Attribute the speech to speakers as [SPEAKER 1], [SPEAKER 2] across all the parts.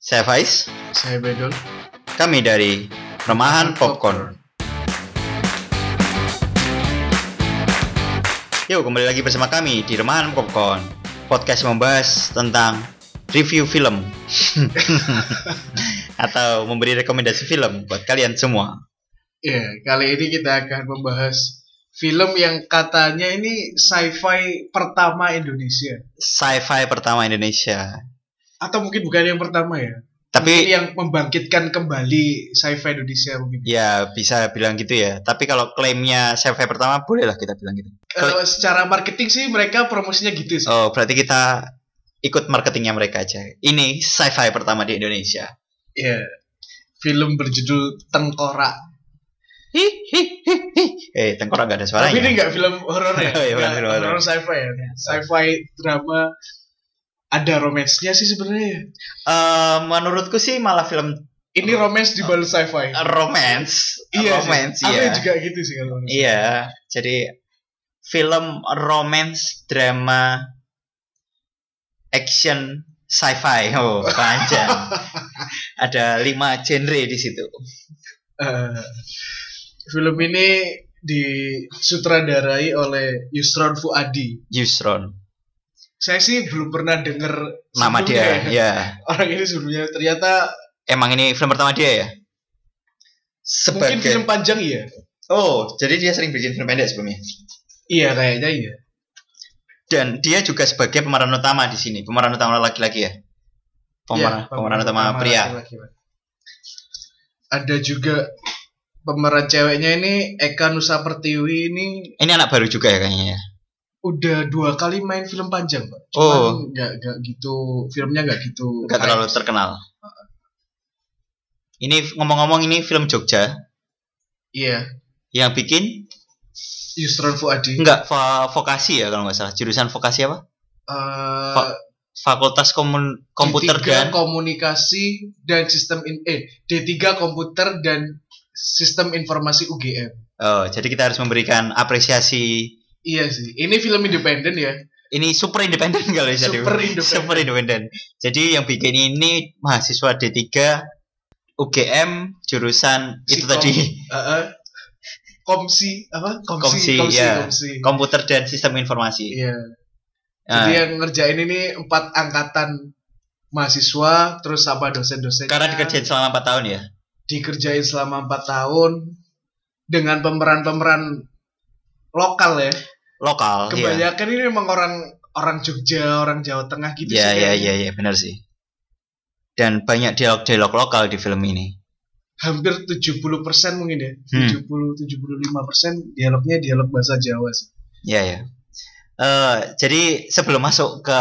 [SPEAKER 1] Saya Faiz,
[SPEAKER 2] Saya Bedul.
[SPEAKER 1] kami dari Remahan Popcorn. Yuk kembali lagi bersama kami di Remahan Popcorn. Podcast yang membahas tentang review film atau memberi rekomendasi film buat kalian semua.
[SPEAKER 2] Ya, kali ini kita akan membahas film yang katanya ini sci-fi pertama Indonesia.
[SPEAKER 1] Sci-fi pertama Indonesia.
[SPEAKER 2] Atau mungkin bukan yang pertama ya. Mungkin
[SPEAKER 1] Tapi
[SPEAKER 2] yang membangkitkan kembali sci-fi Indonesia mungkin. Eh,
[SPEAKER 1] ya bisa bilang gitu ya. Tapi kalau klaimnya sci-fi pertama bolehlah kita bilang gitu.
[SPEAKER 2] Kalau secara marketing sih mereka promosinya gitu sih.
[SPEAKER 1] Oh, berarti kita ikut marketingnya mereka aja. Ini sci-fi pertama di Indonesia.
[SPEAKER 2] Ya. Film berjudul Tengkorak.
[SPEAKER 1] Hi, hi, hi, hi. Eh, tengkorak gak ada
[SPEAKER 2] Tapi ini
[SPEAKER 1] suaranya.
[SPEAKER 2] nggak film horor ya.
[SPEAKER 1] Oh, iya, bukan
[SPEAKER 2] Nggak
[SPEAKER 1] film horor. Iya.
[SPEAKER 2] horor sci-fi ya. Sci-fi drama ada romance-nya sih sebenarnya. ya.
[SPEAKER 1] Eh, menurutku sih malah film
[SPEAKER 2] Ini romance di balik sci-fi.
[SPEAKER 1] romance.
[SPEAKER 2] Iya,
[SPEAKER 1] Oh. Ah, romance,
[SPEAKER 2] sih. Aku
[SPEAKER 1] iya.
[SPEAKER 2] juga gitu sih kalau menurut saya.
[SPEAKER 1] Iya, jadi film romance drama action sci-fi. Oh, panjang. ada lima genre di situ.
[SPEAKER 2] Eh, film ini disutradarai oleh Yusron Fuadi.
[SPEAKER 1] Yusron,
[SPEAKER 2] Saya sih belum pernah denger
[SPEAKER 1] nama
[SPEAKER 2] sebelumnya
[SPEAKER 1] dia.
[SPEAKER 2] ya.
[SPEAKER 1] Ya,
[SPEAKER 2] Orang ini sebelumnya ternyata
[SPEAKER 1] emang ini film pertama dia ya.
[SPEAKER 2] mungkin
[SPEAKER 1] Sebagai
[SPEAKER 2] film panjang ya.
[SPEAKER 1] Oh, jadi dia sering bikin film pendek sebelumnya.
[SPEAKER 2] Iya kayaknya iya.
[SPEAKER 1] dan dia juga sebagai pemeran utama di sini pemeran utama laki-laki ya pemeran
[SPEAKER 2] Iya,
[SPEAKER 1] pemeran utama pria
[SPEAKER 2] laki-laki. Ada juga pemeran ceweknya ini Eka Nusa Pertiwi ini
[SPEAKER 1] ini anak baru juga ya kayaknya ya
[SPEAKER 2] udah dua kali main film panjang, Pak.
[SPEAKER 1] Oh.
[SPEAKER 2] Cuman nggak nggak gitu filmnya nggak gitu.
[SPEAKER 1] nggak terlalu terkenal ini ngomong-ngomong ini film Jogja
[SPEAKER 2] Iya,
[SPEAKER 1] yang bikin
[SPEAKER 2] Yusron Fuadi.
[SPEAKER 1] nggak va- vokasi ya kalau nggak salah jurusan vokasi apa
[SPEAKER 2] Eh,
[SPEAKER 1] Pak, Fakultas Komun- Komputer
[SPEAKER 2] D3
[SPEAKER 1] dan
[SPEAKER 2] komunikasi dan sistem in eh D3 komputer dan sistem informasi UGM.
[SPEAKER 1] oh, jadi kita harus memberikan apresiasi
[SPEAKER 2] Iya sih. Ini film independen ya.
[SPEAKER 1] ini super independen kalau bisa dibilang.
[SPEAKER 2] Super independen.
[SPEAKER 1] super independen. Jadi yang bikin ini mahasiswa D3 UGM jurusan itu
[SPEAKER 2] Sikom.
[SPEAKER 1] tadi
[SPEAKER 2] Heeh. komsi apa? Komsi,
[SPEAKER 1] Komsi, iya.
[SPEAKER 2] komsi.
[SPEAKER 1] komputer dan sistem informasi.
[SPEAKER 2] Iya.
[SPEAKER 1] Nah,
[SPEAKER 2] Jadi ya, yang ngerjain ini empat angkatan mahasiswa terus sama dosen-dosen.
[SPEAKER 1] karena dikerjain selama 4 tahun ya.
[SPEAKER 2] dikerjain selama 4 tahun dengan pemeran-pemeran lokal
[SPEAKER 1] Oh,
[SPEAKER 2] ya.
[SPEAKER 1] Lokal ya.
[SPEAKER 2] Kebanyakan ini memang orang orang Jogja, orang Jawa Tengah gitu
[SPEAKER 1] Ya
[SPEAKER 2] sih.
[SPEAKER 1] ya
[SPEAKER 2] kayaknya.
[SPEAKER 1] ya ya benar sih. Dan banyak dialog-dialog lokal di film ini.
[SPEAKER 2] hampir 70% mungkin ya.
[SPEAKER 1] Hmm.
[SPEAKER 2] 70 75% dialognya dialog bahasa Jawa sih.
[SPEAKER 1] Ya ya. Eh, jadi sebelum masuk ke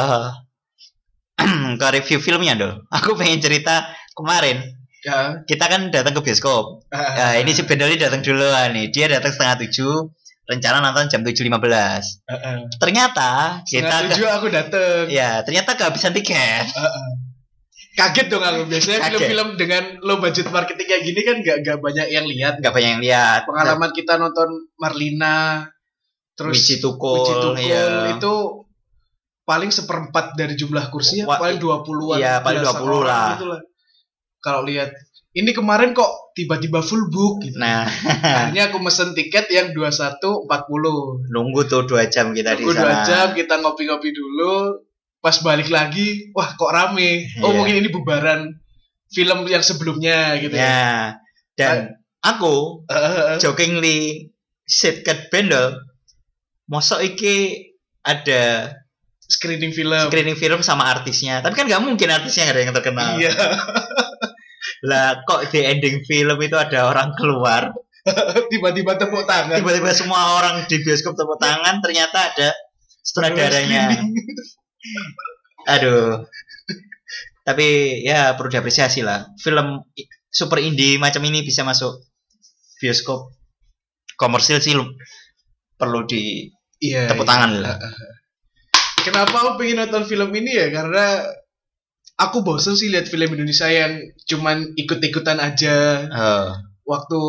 [SPEAKER 1] ke review filmnya dong. Aku pengen cerita kemarin
[SPEAKER 2] Ya.
[SPEAKER 1] kita kan datang ke bioskop. Ya, ini si Bendoli datang duluan nih. Dia datang setengah tujuh, rencana nonton jam tujuh lima belas.
[SPEAKER 2] Heeh.
[SPEAKER 1] Ternyata kita
[SPEAKER 2] Setengah Ah, Nah, tujuh aku dateng
[SPEAKER 1] ya ternyata kehabisan tiket.
[SPEAKER 2] Kaget dong aku. Biasanya
[SPEAKER 1] Kaget.
[SPEAKER 2] film-film dengan low budget marketing kayak gini kan gak, gak banyak yang lihat.
[SPEAKER 1] Gak banyak yang lihat.
[SPEAKER 2] Pengalaman kita nonton Marlina, terus
[SPEAKER 1] Wiji Tukul,
[SPEAKER 2] Wiji Tukul
[SPEAKER 1] iya.
[SPEAKER 2] itu paling seperempat dari jumlah kursi ya,
[SPEAKER 1] Wa-
[SPEAKER 2] paling 20-an.
[SPEAKER 1] iya, paling
[SPEAKER 2] 20
[SPEAKER 1] 20 lah.
[SPEAKER 2] gitu Kalau lihat ini kemarin kok tiba-tiba full book gitu.
[SPEAKER 1] Nah,
[SPEAKER 2] Akhirnya aku mesen tiket yang 21.40.
[SPEAKER 1] nunggu tuh dua jam kita di
[SPEAKER 2] Aku
[SPEAKER 1] sana.
[SPEAKER 2] dua jam kita ngopi-ngopi dulu. Pas balik lagi, wah kok rame. Oh
[SPEAKER 1] Iya.
[SPEAKER 2] mungkin ini bubaran film yang sebelumnya gitu ya.
[SPEAKER 1] Ya. Dan aku
[SPEAKER 2] Eh, eh, eh.
[SPEAKER 1] jokingly said ke Bendol, mosok iki ada
[SPEAKER 2] Screening film.
[SPEAKER 1] screening film sama artisnya. Tapi kan nggak mungkin artisnya nggak ada yang terkenal.
[SPEAKER 2] Iya.
[SPEAKER 1] Lah kok di ending film itu ada orang keluar
[SPEAKER 2] Tiba-tiba tepuk tangan.
[SPEAKER 1] tiba-tiba semua orang di bioskop tepuk tangan ternyata ada
[SPEAKER 2] Iya,
[SPEAKER 1] sutradaranya aduh tapi ya perlu diapresiasi lah film i- super indie macam ini bisa masuk bioskop komersil sih lu- perlu di
[SPEAKER 2] Iya.
[SPEAKER 1] tepuk
[SPEAKER 2] iya.
[SPEAKER 1] tangan lah
[SPEAKER 2] Kenapa aku pengen nonton film ini ya? Karena aku bosen sih lihat film Indonesia yang cuman ikut-ikutan aja.
[SPEAKER 1] Eh,
[SPEAKER 2] Waktu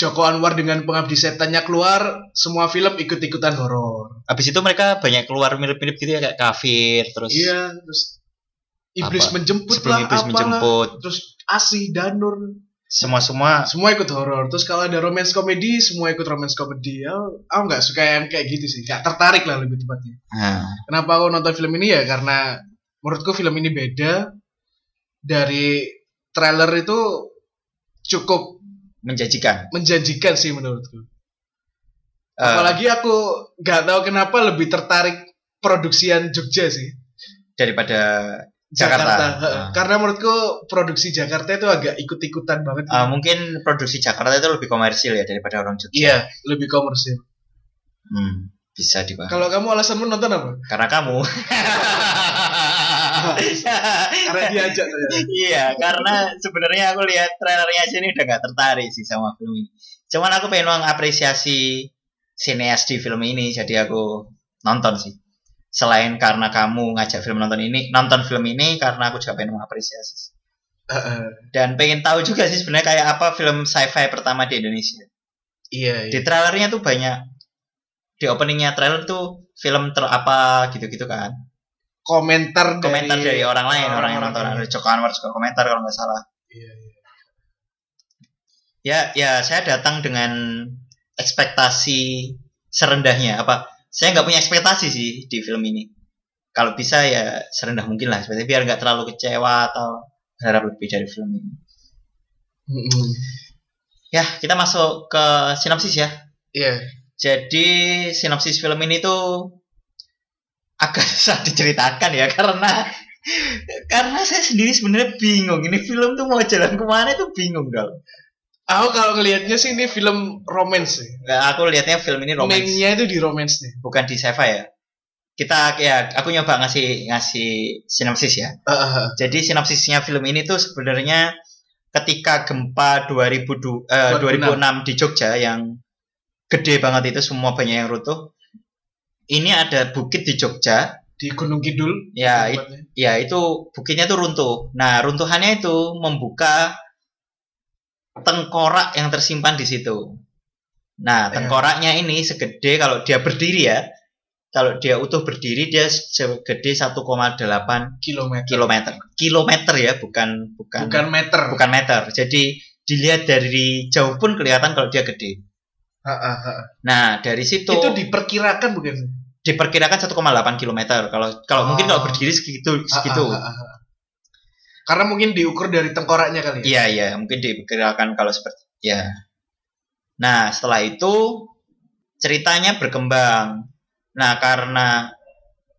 [SPEAKER 2] Joko Anwar dengan Pengabdi Setannya keluar, semua film ikut-ikutan horor.
[SPEAKER 1] habis itu mereka banyak keluar mirip-mirip gitu ya kayak kafir terus
[SPEAKER 2] Iya, terus iblis
[SPEAKER 1] Apa?
[SPEAKER 2] menjemput
[SPEAKER 1] Sebelum
[SPEAKER 2] lah
[SPEAKER 1] iblis
[SPEAKER 2] apalah.
[SPEAKER 1] menjemput.
[SPEAKER 2] terus asih danur
[SPEAKER 1] Semua semua
[SPEAKER 2] semua ikut horor terus kalau ada romance komedi semua ikut romance komedi ya aku nggak suka yang kayak gitu sih nggak tertarik lah lebih tepatnya
[SPEAKER 1] ah,
[SPEAKER 2] kenapa aku nonton film ini ya karena menurutku film ini beda dari trailer itu cukup
[SPEAKER 1] menjanjikan.
[SPEAKER 2] menjanjikan sih menurutku
[SPEAKER 1] Eh,
[SPEAKER 2] apalagi aku nggak tahu kenapa lebih tertarik produksian Jogja sih
[SPEAKER 1] daripada Jakarta.
[SPEAKER 2] Jakarta, heeh.
[SPEAKER 1] Ah.
[SPEAKER 2] karena menurutku produksi Jakarta itu agak ikut-ikutan banget
[SPEAKER 1] eh, mungkin produksi Jakarta itu lebih komersil ya daripada orang Jogja.
[SPEAKER 2] iya lebih komersil
[SPEAKER 1] Hmm, bisa dipahami.
[SPEAKER 2] kalau kamu alasanmu nonton apa
[SPEAKER 1] Karena kamu.
[SPEAKER 2] karena diajak saya.
[SPEAKER 1] iya, karena sebenarnya aku lihat trailernya aja ini udah gak tertarik sih sama film ini. Cuman aku pengen mengapresiasi sineas di film ini, jadi aku nonton sih. Selain karena kamu ngajak film nonton ini, nonton film ini karena aku juga pengen mengapresiasi.
[SPEAKER 2] Heeh.
[SPEAKER 1] Dan pengen tahu juga sih sebenarnya kayak apa film sci-fi pertama di Indonesia.
[SPEAKER 2] iya
[SPEAKER 1] Di
[SPEAKER 2] iya
[SPEAKER 1] trailernya tuh banyak di openingnya trailer tuh film terapa gitu-gitu kan.
[SPEAKER 2] komentar
[SPEAKER 1] komentar dari, orang lain orang, yang
[SPEAKER 2] orang-orang
[SPEAKER 1] nonton
[SPEAKER 2] lain.
[SPEAKER 1] ada Joko Anwar juga komentar kalau nggak salah
[SPEAKER 2] Iya, iya.
[SPEAKER 1] ya ya saya datang dengan ekspektasi serendahnya apa saya nggak punya ekspektasi sih di film ini kalau bisa ya serendah mungkin lah seperti biar nggak terlalu kecewa atau berharap lebih dari film ini
[SPEAKER 2] Mm-mm.
[SPEAKER 1] ya kita masuk ke sinopsis ya
[SPEAKER 2] Iya.
[SPEAKER 1] jadi sinopsis film ini tuh agak susah diceritakan ya karena karena saya sendiri sebenarnya bingung ini film tuh mau jalan kemana itu bingung dong
[SPEAKER 2] Aku kalau ngelihatnya sih ini film romance sih.
[SPEAKER 1] Nggak, Nah, aku lihatnya film ini romance
[SPEAKER 2] Mainnya itu di romance nih.
[SPEAKER 1] bukan di sci-fi ya kita ya aku nyoba ngasih ngasih sinopsis ya
[SPEAKER 2] Heeh.
[SPEAKER 1] jadi sinopsisnya film ini tuh sebenarnya ketika gempa 2000 eh,
[SPEAKER 2] 2006.
[SPEAKER 1] 2006 di Jogja yang gede banget itu semua banyak yang rutuh ini ada bukit di Jogja
[SPEAKER 2] Di Gunung Kidul.
[SPEAKER 1] Ya,
[SPEAKER 2] di tempatnya.
[SPEAKER 1] ya itu bukitnya itu runtuh. Nah, runtuhannya itu membuka tengkorak yang tersimpan di situ. Nah,
[SPEAKER 2] Iya.
[SPEAKER 1] tengkoraknya ini segede kalau dia berdiri ya. Kalau dia utuh berdiri dia segede 1,8
[SPEAKER 2] kilometer.
[SPEAKER 1] kilometer. Kilometer ya, bukan bukan
[SPEAKER 2] Bukan meter.
[SPEAKER 1] bukan meter. Jadi dilihat dari jauh pun kelihatan kalau dia gede.
[SPEAKER 2] Heeh, heeh.
[SPEAKER 1] Nah, dari situ
[SPEAKER 2] Itu diperkirakan bukan?
[SPEAKER 1] diperkirakan 1,8 kilometer. Kalau kalau mungkin
[SPEAKER 2] Oh.
[SPEAKER 1] kalau berdiri segitu
[SPEAKER 2] Ah,
[SPEAKER 1] segitu.
[SPEAKER 2] Heeh, heeh, heeh. Karena mungkin diukur dari tengkoraknya kali
[SPEAKER 1] Iya
[SPEAKER 2] ya.
[SPEAKER 1] iya mungkin diperkirakan kalau seperti ya. Nah setelah itu ceritanya berkembang. Nah karena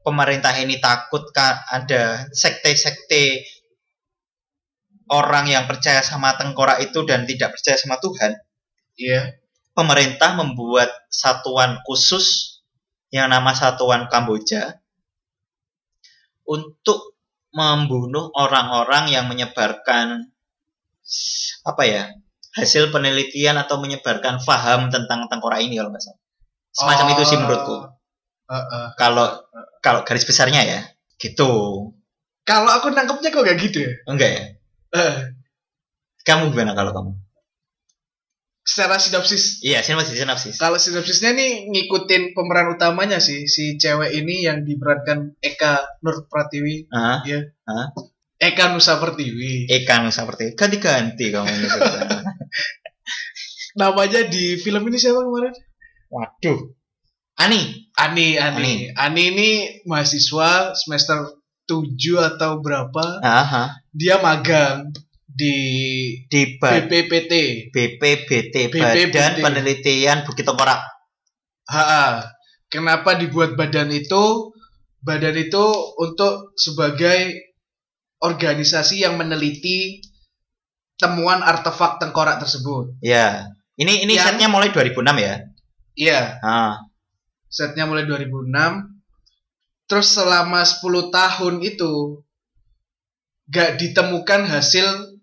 [SPEAKER 1] pemerintah ini takut ka- ada sekte-sekte orang yang percaya sama tengkorak itu dan tidak percaya sama Tuhan,
[SPEAKER 2] Iya.
[SPEAKER 1] pemerintah membuat satuan khusus yang nama Satuan Kamboja untuk membunuh orang-orang yang menyebarkan apa ya hasil penelitian atau menyebarkan faham tentang tengkorak ini kalau nggak salah semacam itu sih
[SPEAKER 2] Oh.
[SPEAKER 1] menurutku
[SPEAKER 2] Heeh.
[SPEAKER 1] kalau kalau garis besarnya ya gitu
[SPEAKER 2] Kalau aku nangkepnya kok gak gitu ya. Eh,
[SPEAKER 1] enggak ya
[SPEAKER 2] Heeh.
[SPEAKER 1] kamu gimana kalau kamu
[SPEAKER 2] secara sinopsis
[SPEAKER 1] iya sinopsis sinopsis
[SPEAKER 2] Kalau sinopsisnya nih ngikutin pemeran utamanya sih si cewek ini yang diperankan Eka Nur Pratiwi,
[SPEAKER 1] Ah,
[SPEAKER 2] Eka Nusa Pertiwi.
[SPEAKER 1] ikan seperti ganti-ganti kamu ini sebenarnya.
[SPEAKER 2] Namanya di film ini siapa kemarin?
[SPEAKER 1] waduh Ani
[SPEAKER 2] Ani, Ani. Ani, ini mahasiswa semester 7 atau berapa?
[SPEAKER 1] Aha,
[SPEAKER 2] Dia magang di
[SPEAKER 1] di Bali
[SPEAKER 2] BPPT.
[SPEAKER 1] BPBT
[SPEAKER 2] BPBT.
[SPEAKER 1] Badan Penelitian Bukit Tengkorak.
[SPEAKER 2] Ha. Kenapa dibuat badan itu? Badan itu untuk sebagai organisasi yang meneliti temuan artefak tengkorak tersebut.
[SPEAKER 1] Ya. Ini ini
[SPEAKER 2] Yang-
[SPEAKER 1] setnya mulai 2006 ya.
[SPEAKER 2] Iya,
[SPEAKER 1] Ah,
[SPEAKER 2] setnya mulai 2006. Terus selama 10 tahun itu gak ditemukan hasil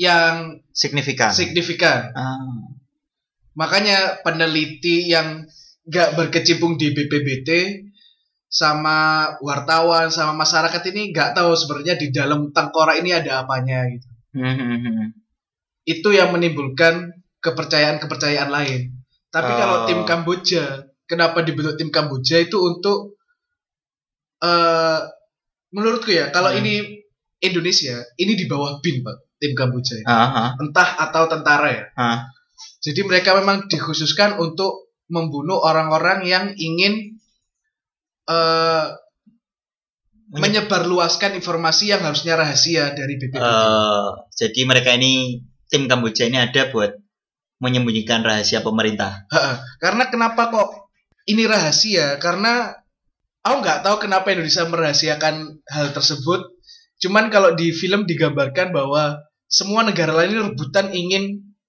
[SPEAKER 2] yang
[SPEAKER 1] signifikan.
[SPEAKER 2] signifikan.
[SPEAKER 1] Ah,
[SPEAKER 2] Makanya peneliti yang gak berkecimpung di BPBT sama wartawan sama masyarakat ini gak tahu sebenarnya di dalam tengkorak ini ada apanya gitu.
[SPEAKER 1] Mhm.
[SPEAKER 2] Itu yang menimbulkan kepercayaan-kepercayaan lain. Tapi
[SPEAKER 1] Oh.
[SPEAKER 2] kalau tim Kamboja, kenapa dibentuk tim Kamboja itu untuk eh menurutku ya kalau
[SPEAKER 1] Hmm.
[SPEAKER 2] ini Indonesia ini di bawah bin pak tim Kamboja ini.
[SPEAKER 1] Heeh.
[SPEAKER 2] entah atau tentara ya
[SPEAKER 1] Heeh.
[SPEAKER 2] jadi mereka memang dikhususkan untuk membunuh orang-orang yang ingin eh, menyebarluaskan informasi yang harusnya rahasia dari BPBD
[SPEAKER 1] Eh, jadi mereka ini tim Kamboja ini ada buat menyembunyikan rahasia pemerintah.
[SPEAKER 2] Ha-ha. karena kenapa kok ini rahasia karena aku nggak tahu kenapa Indonesia merahasiakan hal tersebut cuman kalau di film digambarkan bahwa semua negara lain ini rebutan ingin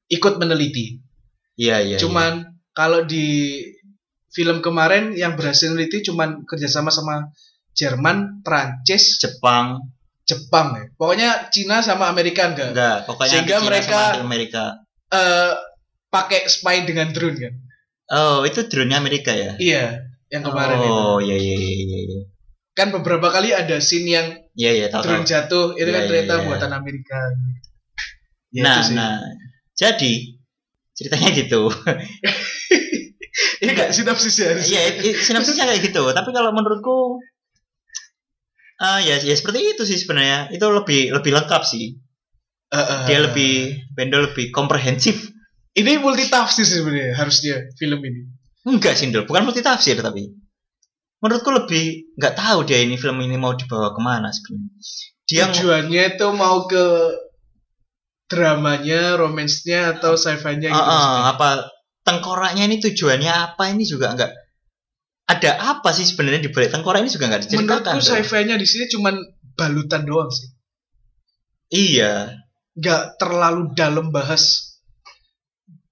[SPEAKER 2] ikut meneliti
[SPEAKER 1] Iya iya.
[SPEAKER 2] cuman kalau di film kemarin yang berhasil neliti cuman kerjasama sama Jerman,
[SPEAKER 1] iya.
[SPEAKER 2] Prancis,
[SPEAKER 1] Jepang
[SPEAKER 2] Jepang ya. Pokoknya Cina sama Amerika enggak
[SPEAKER 1] enggak pokoknya
[SPEAKER 2] Sehingga
[SPEAKER 1] anti Cina
[SPEAKER 2] mereka-
[SPEAKER 1] sama anti Amerika.
[SPEAKER 2] eh pakai spy dengan drone kan.
[SPEAKER 1] Oh itu drone Amerika ya?
[SPEAKER 2] Iya, yang kemarin itu.
[SPEAKER 1] oh iya iya iya iya iya.
[SPEAKER 2] Kan beberapa kali ada scene yang
[SPEAKER 1] Iya iya tahu. tahu.
[SPEAKER 2] drone jatuh itu
[SPEAKER 1] Iya,
[SPEAKER 2] kan
[SPEAKER 1] iya,
[SPEAKER 2] ternyata
[SPEAKER 1] iya.
[SPEAKER 2] buatan Amerika. Ya,
[SPEAKER 1] Nah
[SPEAKER 2] itu sih.
[SPEAKER 1] nah jadi ceritanya gitu.
[SPEAKER 2] Iya enggak sinopsis ya.
[SPEAKER 1] Iya i- i- sinopsisnya kayak gitu. Tapi kalau menurutku ah ya ya seperti itu sih sebenarnya. Itu lebih lebih lengkap sih.
[SPEAKER 2] Heeh.
[SPEAKER 1] Dia lebih Bendo lebih komprehensif
[SPEAKER 2] ini multi tafsir sih sebenarnya harusnya film ini.
[SPEAKER 1] Enggak sih, Ndol. Bukan multi tafsir tapi menurutku lebih nggak tahu dia ini film ini mau dibawa kemana sebenarnya. Dia
[SPEAKER 2] tujuannya itu mau ke dramanya, romansnya atau sci-fi-nya gitu.
[SPEAKER 1] Ah, ah,
[SPEAKER 2] maksudnya.
[SPEAKER 1] apa tengkoraknya ini tujuannya apa ini juga nggak ada apa sih sebenarnya di balik tengkorak ini juga nggak diceritakan.
[SPEAKER 2] Menurutku
[SPEAKER 1] Ndol.
[SPEAKER 2] sci-fi-nya di sini cuman balutan doang sih.
[SPEAKER 1] Iya,
[SPEAKER 2] Gak terlalu dalam bahas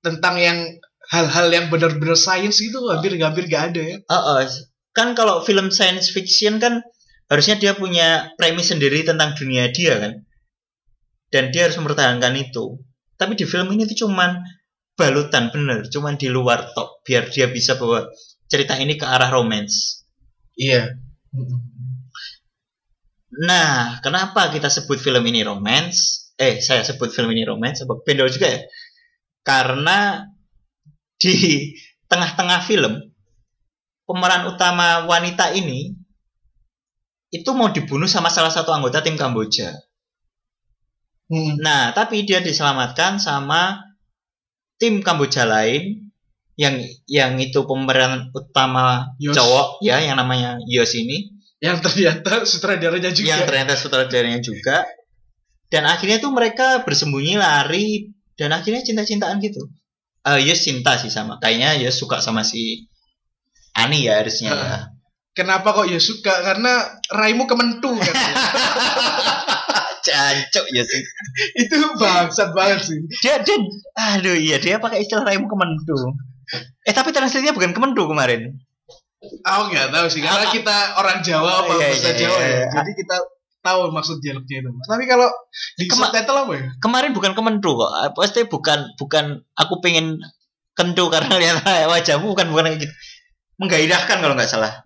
[SPEAKER 2] tentang yang hal-hal yang benar-benar sains itu hampir-hampir gak ada ya.
[SPEAKER 1] Ah, ah. kan kalau film science fiction kan harusnya dia punya premis sendiri tentang dunia dia kan, dan dia harus mempertahankan itu. Tapi di film ini tuh cuman balutan bener, cuman di luar tok biar dia bisa bawa cerita ini ke arah romance.
[SPEAKER 2] Iya.
[SPEAKER 1] Nah, kenapa kita sebut film ini romance? Eh, saya sebut film ini romance, apa bendol juga ya? Karena di tengah-tengah film pemeran utama wanita ini itu mau dibunuh sama salah satu anggota tim Kamboja.
[SPEAKER 2] Mm.
[SPEAKER 1] Nah, tapi dia diselamatkan sama tim Kamboja lain yang yang itu pemeran utama
[SPEAKER 2] Yos.
[SPEAKER 1] cowok ya yang namanya Yos ini
[SPEAKER 2] Yang ternyata sutradaranya juga.
[SPEAKER 1] yang ternyata sutradaranya juga dan akhirnya tuh mereka bersembunyi lari dan akhirnya cinta-cintaan gitu Eh Yus cinta sih sama kayaknya Yus suka sama si Ani ya harusnya ya.
[SPEAKER 2] Heeh. Kenapa kok ya suka? Karena raimu kementung kan.
[SPEAKER 1] Cancuk Yus
[SPEAKER 2] itu bangsat banget sih.
[SPEAKER 1] ya dia dia aduh iya dia pakai istilah raimu kemendu eh tapi translate-nya bukan kemendu kemarin
[SPEAKER 2] Aku nggak tahu sih karena kita orang Jawa apa
[SPEAKER 1] Iya,
[SPEAKER 2] bahasa
[SPEAKER 1] iya,
[SPEAKER 2] Jawa
[SPEAKER 1] iya,
[SPEAKER 2] ya.
[SPEAKER 1] iya.
[SPEAKER 2] Jadi kita tahu maksud dialognya itu. Tapi kalau di
[SPEAKER 1] Kema-
[SPEAKER 2] subtitle apa ya?
[SPEAKER 1] kemarin bukan kemendu kok Eh, pasti bukan bukan aku pengen kentu karena lihat wajahmu bukan bukan kayak gitu menggairahkan kalau nggak salah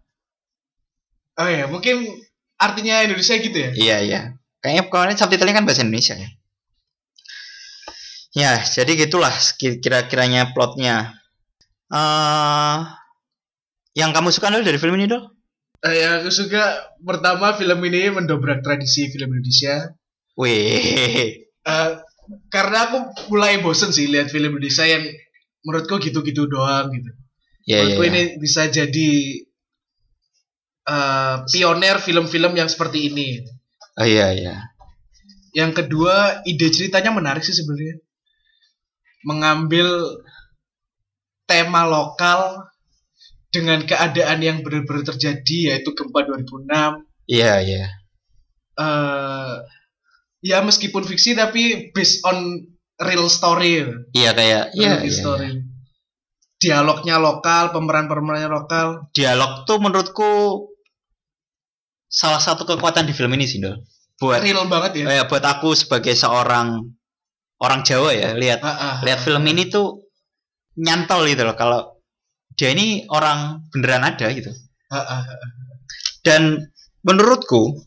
[SPEAKER 2] Oh ya, mungkin artinya Indonesia gitu ya.
[SPEAKER 1] Iya iya. Kayaknya kemarin subtitlenya kan bahasa Indonesia ya. Ya jadi gitulah sekir- kira-kiranya plotnya. eh yang kamu suka dulu dari film ini dong?
[SPEAKER 2] Eh, ya, aku suka pertama film ini mendobrak tradisi film Indonesia.
[SPEAKER 1] Wih.
[SPEAKER 2] Eh, karena aku mulai bosen sih lihat film Indonesia yang menurutku gitu-gitu doang gitu.
[SPEAKER 1] Ya ya.
[SPEAKER 2] menurutku
[SPEAKER 1] ya.
[SPEAKER 2] ini bisa jadi eh, pioner film-film yang seperti ini.
[SPEAKER 1] Oh iya iya.
[SPEAKER 2] Yang kedua, ide ceritanya menarik sih sebenarnya. Mengambil tema lokal dengan keadaan yang benar-benar terjadi yaitu gempa 2006.
[SPEAKER 1] Iya iya.
[SPEAKER 2] eh ya meskipun fiksi tapi based on real story. ya.
[SPEAKER 1] Iya kayak iya,
[SPEAKER 2] Real
[SPEAKER 1] iya,
[SPEAKER 2] story.
[SPEAKER 1] iya.
[SPEAKER 2] Dialognya lokal, pemeran-pemerannya lokal.
[SPEAKER 1] Dialog tuh menurutku salah satu kekuatan di film ini sih Dol. Buat
[SPEAKER 2] Real banget ya.
[SPEAKER 1] eh, buat aku sebagai seorang orang Jawa ya lihat
[SPEAKER 2] Ah, ah.
[SPEAKER 1] lihat film ini tuh nyantol gitu loh kalau dia ini orang beneran ada gitu
[SPEAKER 2] Ah, ah.
[SPEAKER 1] dan menurutku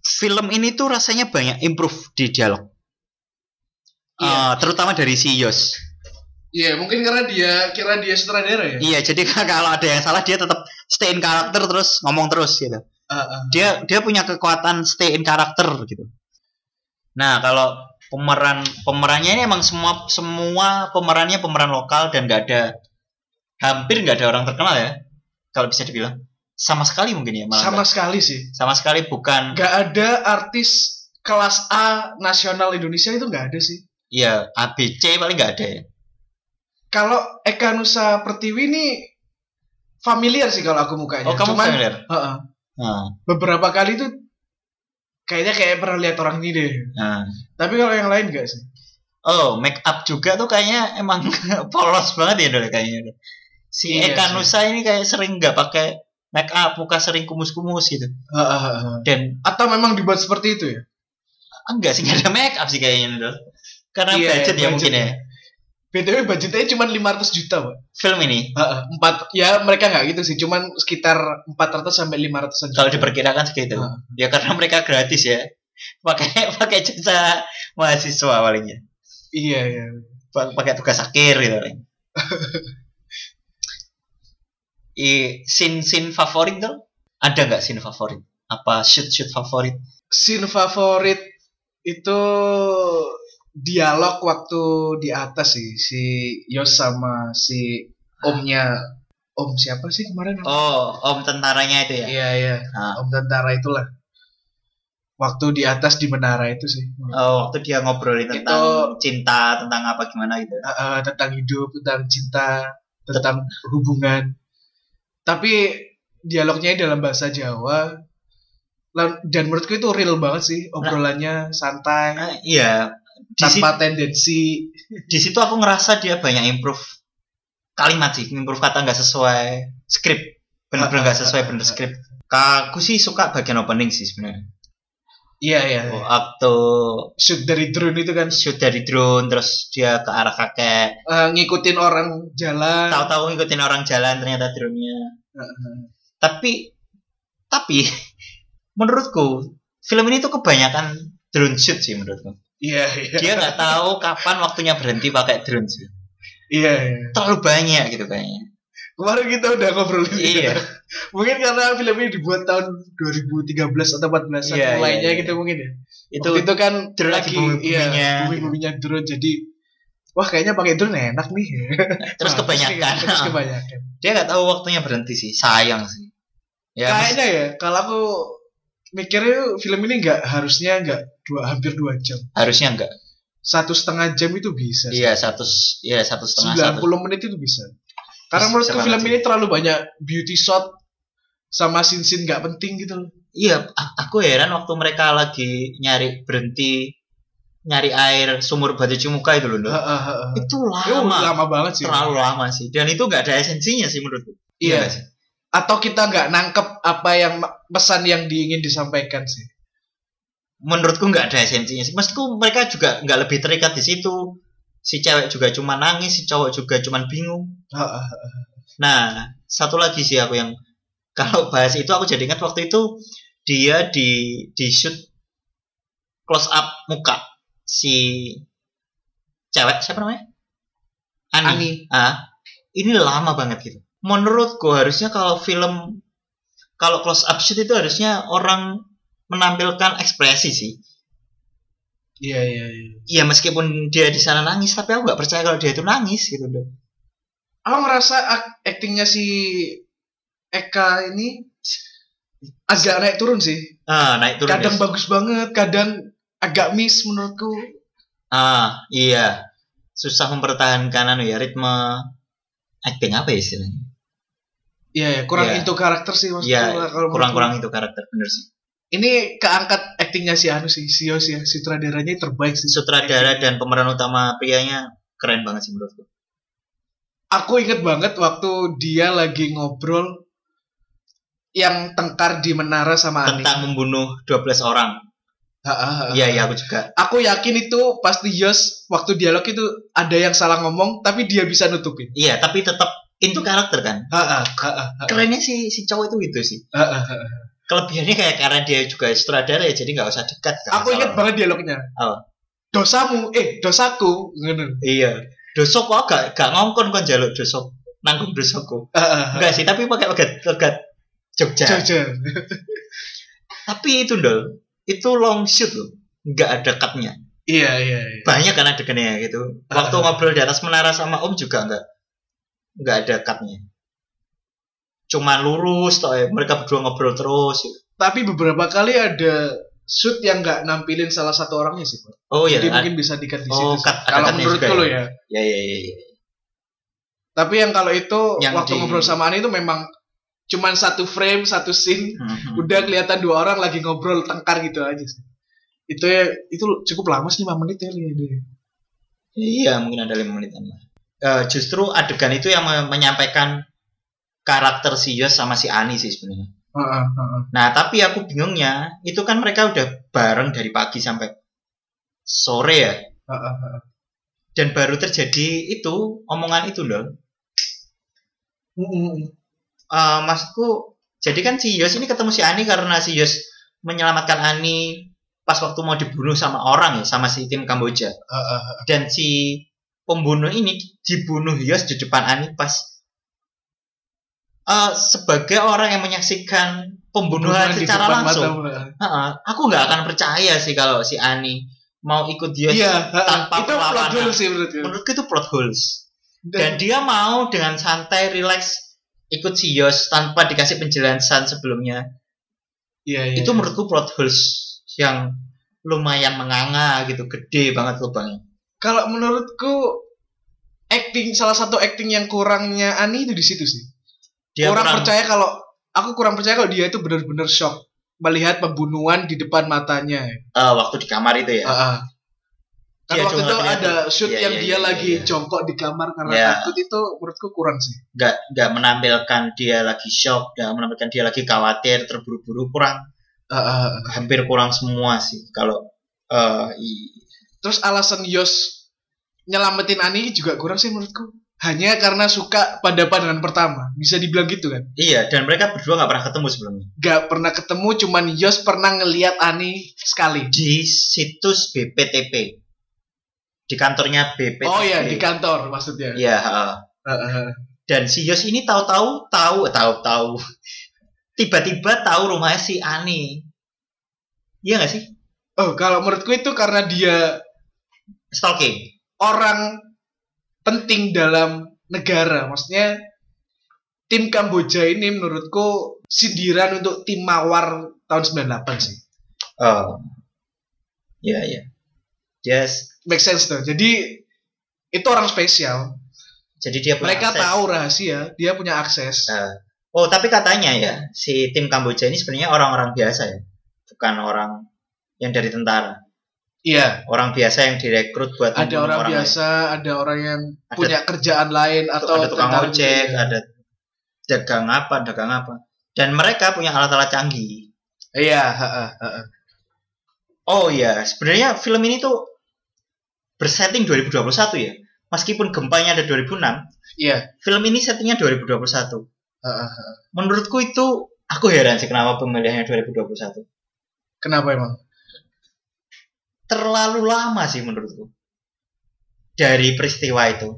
[SPEAKER 1] film ini tuh rasanya banyak improve di dialog
[SPEAKER 2] Iya.
[SPEAKER 1] Eh, terutama dari si Yos
[SPEAKER 2] Iya, mungkin karena dia kira dia sutradara ya.
[SPEAKER 1] iya jadi kalau ada yang salah dia tetap stay in karakter terus ngomong terus gitu
[SPEAKER 2] Heeh.
[SPEAKER 1] dia dia punya kekuatan stay in karakter gitu. Nah kalau pemeran pemerannya ini emang semua semua pemerannya pemeran lokal dan nggak ada hampir nggak ada orang terkenal ya kalau bisa dibilang sama sekali mungkin ya malah
[SPEAKER 2] sama
[SPEAKER 1] nggak-
[SPEAKER 2] sekali sih
[SPEAKER 1] sama sekali bukan
[SPEAKER 2] nggak ada artis kelas A nasional Indonesia itu nggak ada sih
[SPEAKER 1] ya ABC paling nggak ada ya.
[SPEAKER 2] kalau Eka Nusa Pertiwi ini familiar sih kalau aku mukanya
[SPEAKER 1] Oh kamu
[SPEAKER 2] Iya, Cuman,
[SPEAKER 1] familiar?
[SPEAKER 2] heeh,
[SPEAKER 1] Nah,
[SPEAKER 2] beberapa kali tuh kayaknya kayak pernah lihat orang ini deh
[SPEAKER 1] nah.
[SPEAKER 2] tapi kalau yang lain nggak sih
[SPEAKER 1] Oh make up juga tuh kayaknya emang polos banget ya Dol, kayaknya. Si
[SPEAKER 2] Iya
[SPEAKER 1] Eka
[SPEAKER 2] sih.
[SPEAKER 1] Nusa ini kayak sering nggak pakai make up, muka sering kumus-kumus gitu.
[SPEAKER 2] Heeh, heeh.
[SPEAKER 1] Dan
[SPEAKER 2] atau memang dibuat seperti itu ya
[SPEAKER 1] enggak sih nggak ada make up sih kayaknya Dol. Karena
[SPEAKER 2] Iya,
[SPEAKER 1] budget ya
[SPEAKER 2] budget.
[SPEAKER 1] mungkin ya.
[SPEAKER 2] BTW budgetnya cuma 500 juta pak
[SPEAKER 1] Film ini
[SPEAKER 2] Heeh, empat ya mereka nggak gitu sih cuman sekitar 400 sampai 500 juta
[SPEAKER 1] kalau diperkirakan segitu.
[SPEAKER 2] Heeh.
[SPEAKER 1] Ya karena mereka gratis ya. Pakai pakai jasa mahasiswa palingnya.
[SPEAKER 2] iya iya
[SPEAKER 1] Pa- pakai tugas akhir gitu paling. I scene scene favorit tuh ada nggak scene favorit? Apa shoot shoot favorit?
[SPEAKER 2] scene favorit itu dialog waktu di atas sih si Yos sama si omnya om siapa sih kemarin
[SPEAKER 1] Oh, om tentaranya itu ya.
[SPEAKER 2] iya iya
[SPEAKER 1] Ah.
[SPEAKER 2] om tentara itulah waktu di atas di menara itu sih
[SPEAKER 1] Oh, waktu dia ngobrolin
[SPEAKER 2] Itu-
[SPEAKER 1] tentang cinta, tentang apa gimana gitu.
[SPEAKER 2] Eh, eh, tentang hidup tentang cinta tentang hubungan tapi dialognya dalam bahasa Jawa Lan- dan menurutku itu real banget sih obrolannya santai
[SPEAKER 1] Nah, iya. Di, si-
[SPEAKER 2] tanpa tendensi
[SPEAKER 1] di situ aku ngerasa dia banyak improve kalimat sih, improve kata nggak sesuai skrip. Bener-bener nggak sesuai bener skrip. Aku sih suka bagian opening sih sebenarnya.
[SPEAKER 2] iya
[SPEAKER 1] Oh, ah.
[SPEAKER 2] iya iya.
[SPEAKER 1] Waktu
[SPEAKER 2] shoot dari drone itu kan
[SPEAKER 1] shoot dari drone terus dia ke arah kakek
[SPEAKER 2] eh, ngikutin orang jalan.
[SPEAKER 1] tahu-tahu ngikutin orang jalan ternyata drone-nya
[SPEAKER 2] Heeh.
[SPEAKER 1] tapi tapi menurutku film ini tuh kebanyakan drone shoot sih menurutku
[SPEAKER 2] Iya iya.
[SPEAKER 1] dia nggak tahu kapan waktunya berhenti pakai drone sih
[SPEAKER 2] Iya iya.
[SPEAKER 1] terlalu banyak gitu kayaknya
[SPEAKER 2] Kemarin kita udah ngobrol gitu.
[SPEAKER 1] iya
[SPEAKER 2] Mungkin karena film ini dibuat tahun 2013 atau 14
[SPEAKER 1] Iya,
[SPEAKER 2] an
[SPEAKER 1] iya,
[SPEAKER 2] mulainya
[SPEAKER 1] iya.
[SPEAKER 2] gitu mungkin ya.
[SPEAKER 1] itu
[SPEAKER 2] Waktu itu kan
[SPEAKER 1] drone lagi
[SPEAKER 2] lagi
[SPEAKER 1] booming-boomingnya.
[SPEAKER 2] iya, booming-boomingnya drone jadi wah kayaknya pakai drone enak nih.
[SPEAKER 1] terus
[SPEAKER 2] Nah,
[SPEAKER 1] kebanyakan
[SPEAKER 2] Terus, kebanyakan.
[SPEAKER 1] dia nggak tahu waktunya berhenti sih sayang sih ya mas-
[SPEAKER 2] kayaknya ya kalau aku mikirnya film ini nggak harusnya nggak dua hampir dua jam
[SPEAKER 1] harusnya enggak
[SPEAKER 2] satu setengah jam itu bisa. sih.
[SPEAKER 1] iya satu iya satu setengah satu
[SPEAKER 2] 90 menit itu bisa. Karena
[SPEAKER 1] Bisa
[SPEAKER 2] menurutku
[SPEAKER 1] banget
[SPEAKER 2] film
[SPEAKER 1] sih.
[SPEAKER 2] ini terlalu banyak beauty shot sama sin-sin nggak penting gitu loh.
[SPEAKER 1] Iya, a- aku heran waktu mereka lagi nyari berhenti nyari air sumur buat cuci muka itu loh. Ndok.
[SPEAKER 2] Heeh, heeh.
[SPEAKER 1] Itu
[SPEAKER 2] Itu
[SPEAKER 1] Iya. lama,
[SPEAKER 2] Uh, lama banget sih.
[SPEAKER 1] terlalu lama sih. Dan itu nggak ada esensinya sih menurutku.
[SPEAKER 2] Iya.
[SPEAKER 1] nggak sih?
[SPEAKER 2] Atau kita nggak nangkep apa yang ma- pesan yang diingin disampaikan sih.
[SPEAKER 1] Menurutku nggak ada esensinya sih. Maksudku mereka juga nggak lebih terikat di situ. Si cewek juga cuma nangis, si cowok juga cuma bingung.
[SPEAKER 2] Heeh.
[SPEAKER 1] Nah, satu lagi sih aku yang kalau bahas itu aku jadi ingat waktu itu dia di di shoot close up muka si cewek siapa namanya?
[SPEAKER 2] Ani.
[SPEAKER 1] Ani. Ah, ini lama banget gitu. Menurutku harusnya kalau film kalau close up shoot itu harusnya orang menampilkan ekspresi sih.
[SPEAKER 2] Iya, iya, iya.
[SPEAKER 1] Ya meskipun dia di sana nangis, tapi aku nggak percaya kalau dia itu nangis gitu. Dok.
[SPEAKER 2] Aku ngerasa ak- actingnya si Eka ini agak naik turun sih.
[SPEAKER 1] Ah, naik turun.
[SPEAKER 2] Kadang
[SPEAKER 1] ya.
[SPEAKER 2] bagus banget, kadang agak miss menurutku.
[SPEAKER 1] Ah, iya. Susah mempertahankan anu ya ritme acting apa ya istilahnya?
[SPEAKER 2] Iya, iya, kurang
[SPEAKER 1] Iya.
[SPEAKER 2] into karakter sih maksudku.
[SPEAKER 1] Iya,
[SPEAKER 2] kalau menurutku.
[SPEAKER 1] kurang-kurang itu karakter bener sih.
[SPEAKER 2] ini keangkat aktingnya si Anu sih, si Yos ya, sutradaranya terbaik sih.
[SPEAKER 1] Sutradara dan pemeran utama prianya keren banget sih menurutku.
[SPEAKER 2] Aku inget banget waktu dia lagi ngobrol yang tengkar di menara sama Ani.
[SPEAKER 1] Tentang membunuh 12 orang.
[SPEAKER 2] Ha, ha, ha.
[SPEAKER 1] Iya, iya aku juga.
[SPEAKER 2] Aku yakin itu pasti Yos waktu dialog itu ada yang salah ngomong, tapi dia bisa nutupin.
[SPEAKER 1] Iya, tapi tetap itu karakter kan.
[SPEAKER 2] Ha, ha, ha, ha, ha,
[SPEAKER 1] Kerennya si si cowok itu gitu sih.
[SPEAKER 2] ha, ha, ha.
[SPEAKER 1] Kelebihannya kayak karena dia juga sutradara ya jadi nggak usah dekat.
[SPEAKER 2] Aku inget banget dialognya.
[SPEAKER 1] Apa?
[SPEAKER 2] Dosamu, eh dosaku, ngono.
[SPEAKER 1] Iya. Dosok kok gak gak ngongkon kon jaluk dosok. Nanggung dosokku.
[SPEAKER 2] Ha, ha, ha.
[SPEAKER 1] Enggak sih, tapi pakai logat logat Jogja.
[SPEAKER 2] Jogja.
[SPEAKER 1] Tapi itu dol, itu long shoot loh, nggak ada cutnya.
[SPEAKER 2] Iya iya. iya.
[SPEAKER 1] Banyak kan adegannya gitu. Waktu
[SPEAKER 2] Ah.
[SPEAKER 1] ngobrol di atas menara sama Om juga nggak nggak ada cutnya. Cuma lurus toh ya. mereka berdua ngobrol terus. gitu.
[SPEAKER 2] Tapi beberapa kali ada shoot yang nggak nampilin salah satu orangnya sih. Pak.
[SPEAKER 1] Oh iya,
[SPEAKER 2] Jadi
[SPEAKER 1] ad-
[SPEAKER 2] mungkin bisa dikat di
[SPEAKER 1] Oh,
[SPEAKER 2] situ. sih.
[SPEAKER 1] cut- ada
[SPEAKER 2] kalau
[SPEAKER 1] cutnya
[SPEAKER 2] menurutku
[SPEAKER 1] juga
[SPEAKER 2] lo ya.
[SPEAKER 1] ya ya ya. ya.
[SPEAKER 2] Tapi yang kalau itu
[SPEAKER 1] Yang
[SPEAKER 2] waktu
[SPEAKER 1] di-
[SPEAKER 2] ngobrol sama Ani itu memang cuman satu frame, satu scene,
[SPEAKER 1] Mhm.
[SPEAKER 2] udah kelihatan dua orang lagi ngobrol tengkar gitu aja sih. Itu ya, itu cukup lama sih 5 menit ya. lihat deh.
[SPEAKER 1] Iya, mungkin ada lima menitan lah. Eh, justru adegan itu yang me- menyampaikan karakter si Yos sama si Ani sih sebenarnya.
[SPEAKER 2] Heeh, heeh.
[SPEAKER 1] Nah, tapi aku bingungnya, itu kan mereka udah bareng dari pagi sampai sore ya.
[SPEAKER 2] heeh, heeh.
[SPEAKER 1] Dan baru terjadi itu, omongan itu loh.
[SPEAKER 2] Mm, mm, mm.
[SPEAKER 1] Eh maksudku, jadi kan si Yos ini ketemu si Ani karena si Yos menyelamatkan Ani pas waktu mau dibunuh sama orang ya, sama si tim Kamboja.
[SPEAKER 2] Heeh, heeh.
[SPEAKER 1] Dan si pembunuh ini dibunuh Yos di depan Ani pas eh, sebagai orang yang menyaksikan pembunuhan,
[SPEAKER 2] Bukan di
[SPEAKER 1] secara
[SPEAKER 2] depan
[SPEAKER 1] langsung.
[SPEAKER 2] mata, heeh.
[SPEAKER 1] Heeh, aku nggak akan percaya sih kalau si Ani mau ikut dia.
[SPEAKER 2] Iya, heeh.
[SPEAKER 1] tanpa
[SPEAKER 2] itu plot
[SPEAKER 1] perlawanan.
[SPEAKER 2] hole sih menurutku.
[SPEAKER 1] Menurutku itu plot holes. Dan
[SPEAKER 2] Dan
[SPEAKER 1] dia mau dengan santai, relax ikut si Yos tanpa dikasih penjelasan sebelumnya.
[SPEAKER 2] iya, iya.
[SPEAKER 1] Itu menurutku plot holes yang lumayan menganga gitu, gede banget lubangnya.
[SPEAKER 2] kalau menurutku acting salah satu acting yang kurangnya Ani itu di situ sih.
[SPEAKER 1] Dia
[SPEAKER 2] kurang,
[SPEAKER 1] kurang-
[SPEAKER 2] percaya kalau aku kurang percaya kalau dia itu benar-benar shock melihat pembunuhan di depan matanya.
[SPEAKER 1] eh, waktu di kamar itu ya.
[SPEAKER 2] Heeh. Kan
[SPEAKER 1] Iya,
[SPEAKER 2] waktu
[SPEAKER 1] cuma
[SPEAKER 2] itu
[SPEAKER 1] kelihatan.
[SPEAKER 2] ada shoot
[SPEAKER 1] Iya,
[SPEAKER 2] yang
[SPEAKER 1] iya,
[SPEAKER 2] dia
[SPEAKER 1] iya,
[SPEAKER 2] lagi
[SPEAKER 1] iya.
[SPEAKER 2] jongkok di kamar karena
[SPEAKER 1] Iya.
[SPEAKER 2] takut itu menurutku kurang sih.
[SPEAKER 1] nggak nggak menampilkan dia lagi shock, nggak menampilkan dia lagi khawatir, terburu-buru, kurang
[SPEAKER 2] Heeh.
[SPEAKER 1] hampir kurang semua sih kalau eh, i-
[SPEAKER 2] Terus alasan Yos nyelamatin Ani juga kurang sih menurutku. Hanya karena suka pada pandangan pertama. Bisa dibilang gitu kan.
[SPEAKER 1] Iya, dan mereka berdua nggak pernah ketemu sebelumnya.
[SPEAKER 2] Gak pernah ketemu cuman Yos pernah ngeliat Ani sekali.
[SPEAKER 1] Di situs BPTP, di kantornya BPTP.
[SPEAKER 2] Oh ya di kantor maksudnya.
[SPEAKER 1] Iya, heeh.
[SPEAKER 2] Heeh, heeh.
[SPEAKER 1] dan si Yos ini tahu-tahu tahu tahu-tahu tiba-tiba tahu rumahnya si Ani. Iya nggak sih?
[SPEAKER 2] Oh kalau menurutku itu karena dia
[SPEAKER 1] Stalking.
[SPEAKER 2] orang penting dalam negara. Maksudnya tim Kamboja ini menurutku sindiran untuk tim Mawar tahun 98 sih.
[SPEAKER 1] Oh. Iya, iya. Yes.
[SPEAKER 2] Make sense tuh. Jadi itu orang spesial.
[SPEAKER 1] Jadi dia punya
[SPEAKER 2] Mereka
[SPEAKER 1] akses.
[SPEAKER 2] tahu rahasia, dia punya akses.
[SPEAKER 1] Nah. Oh, tapi katanya ya, si tim Kamboja ini sebenarnya orang-orang biasa ya. Bukan orang yang dari tentara.
[SPEAKER 2] Iya,
[SPEAKER 1] Orang biasa yang direkrut buat
[SPEAKER 2] ada
[SPEAKER 1] membunuh lain.
[SPEAKER 2] orang, biasa, ada orang yang
[SPEAKER 1] Ada-
[SPEAKER 2] punya kerjaan lain atau
[SPEAKER 1] ada tukang
[SPEAKER 2] tentara
[SPEAKER 1] ojek,
[SPEAKER 2] juga. ya?
[SPEAKER 1] ada dagang apa, dagang apa. Dan mereka punya alat-alat canggih.
[SPEAKER 2] Iya, heeh, heeh.
[SPEAKER 1] Oh iya, sebenarnya film ini tuh bersetting 2021 ya. Meskipun gempanya ada 2006,
[SPEAKER 2] Iya,
[SPEAKER 1] film ini settingnya 2021.
[SPEAKER 2] heeh, heeh.
[SPEAKER 1] Menurutku itu aku heran sih kenapa pemilihannya 2021.
[SPEAKER 2] Kenapa emang?
[SPEAKER 1] Terlalu lama sih menurutku. Dari peristiwa itu.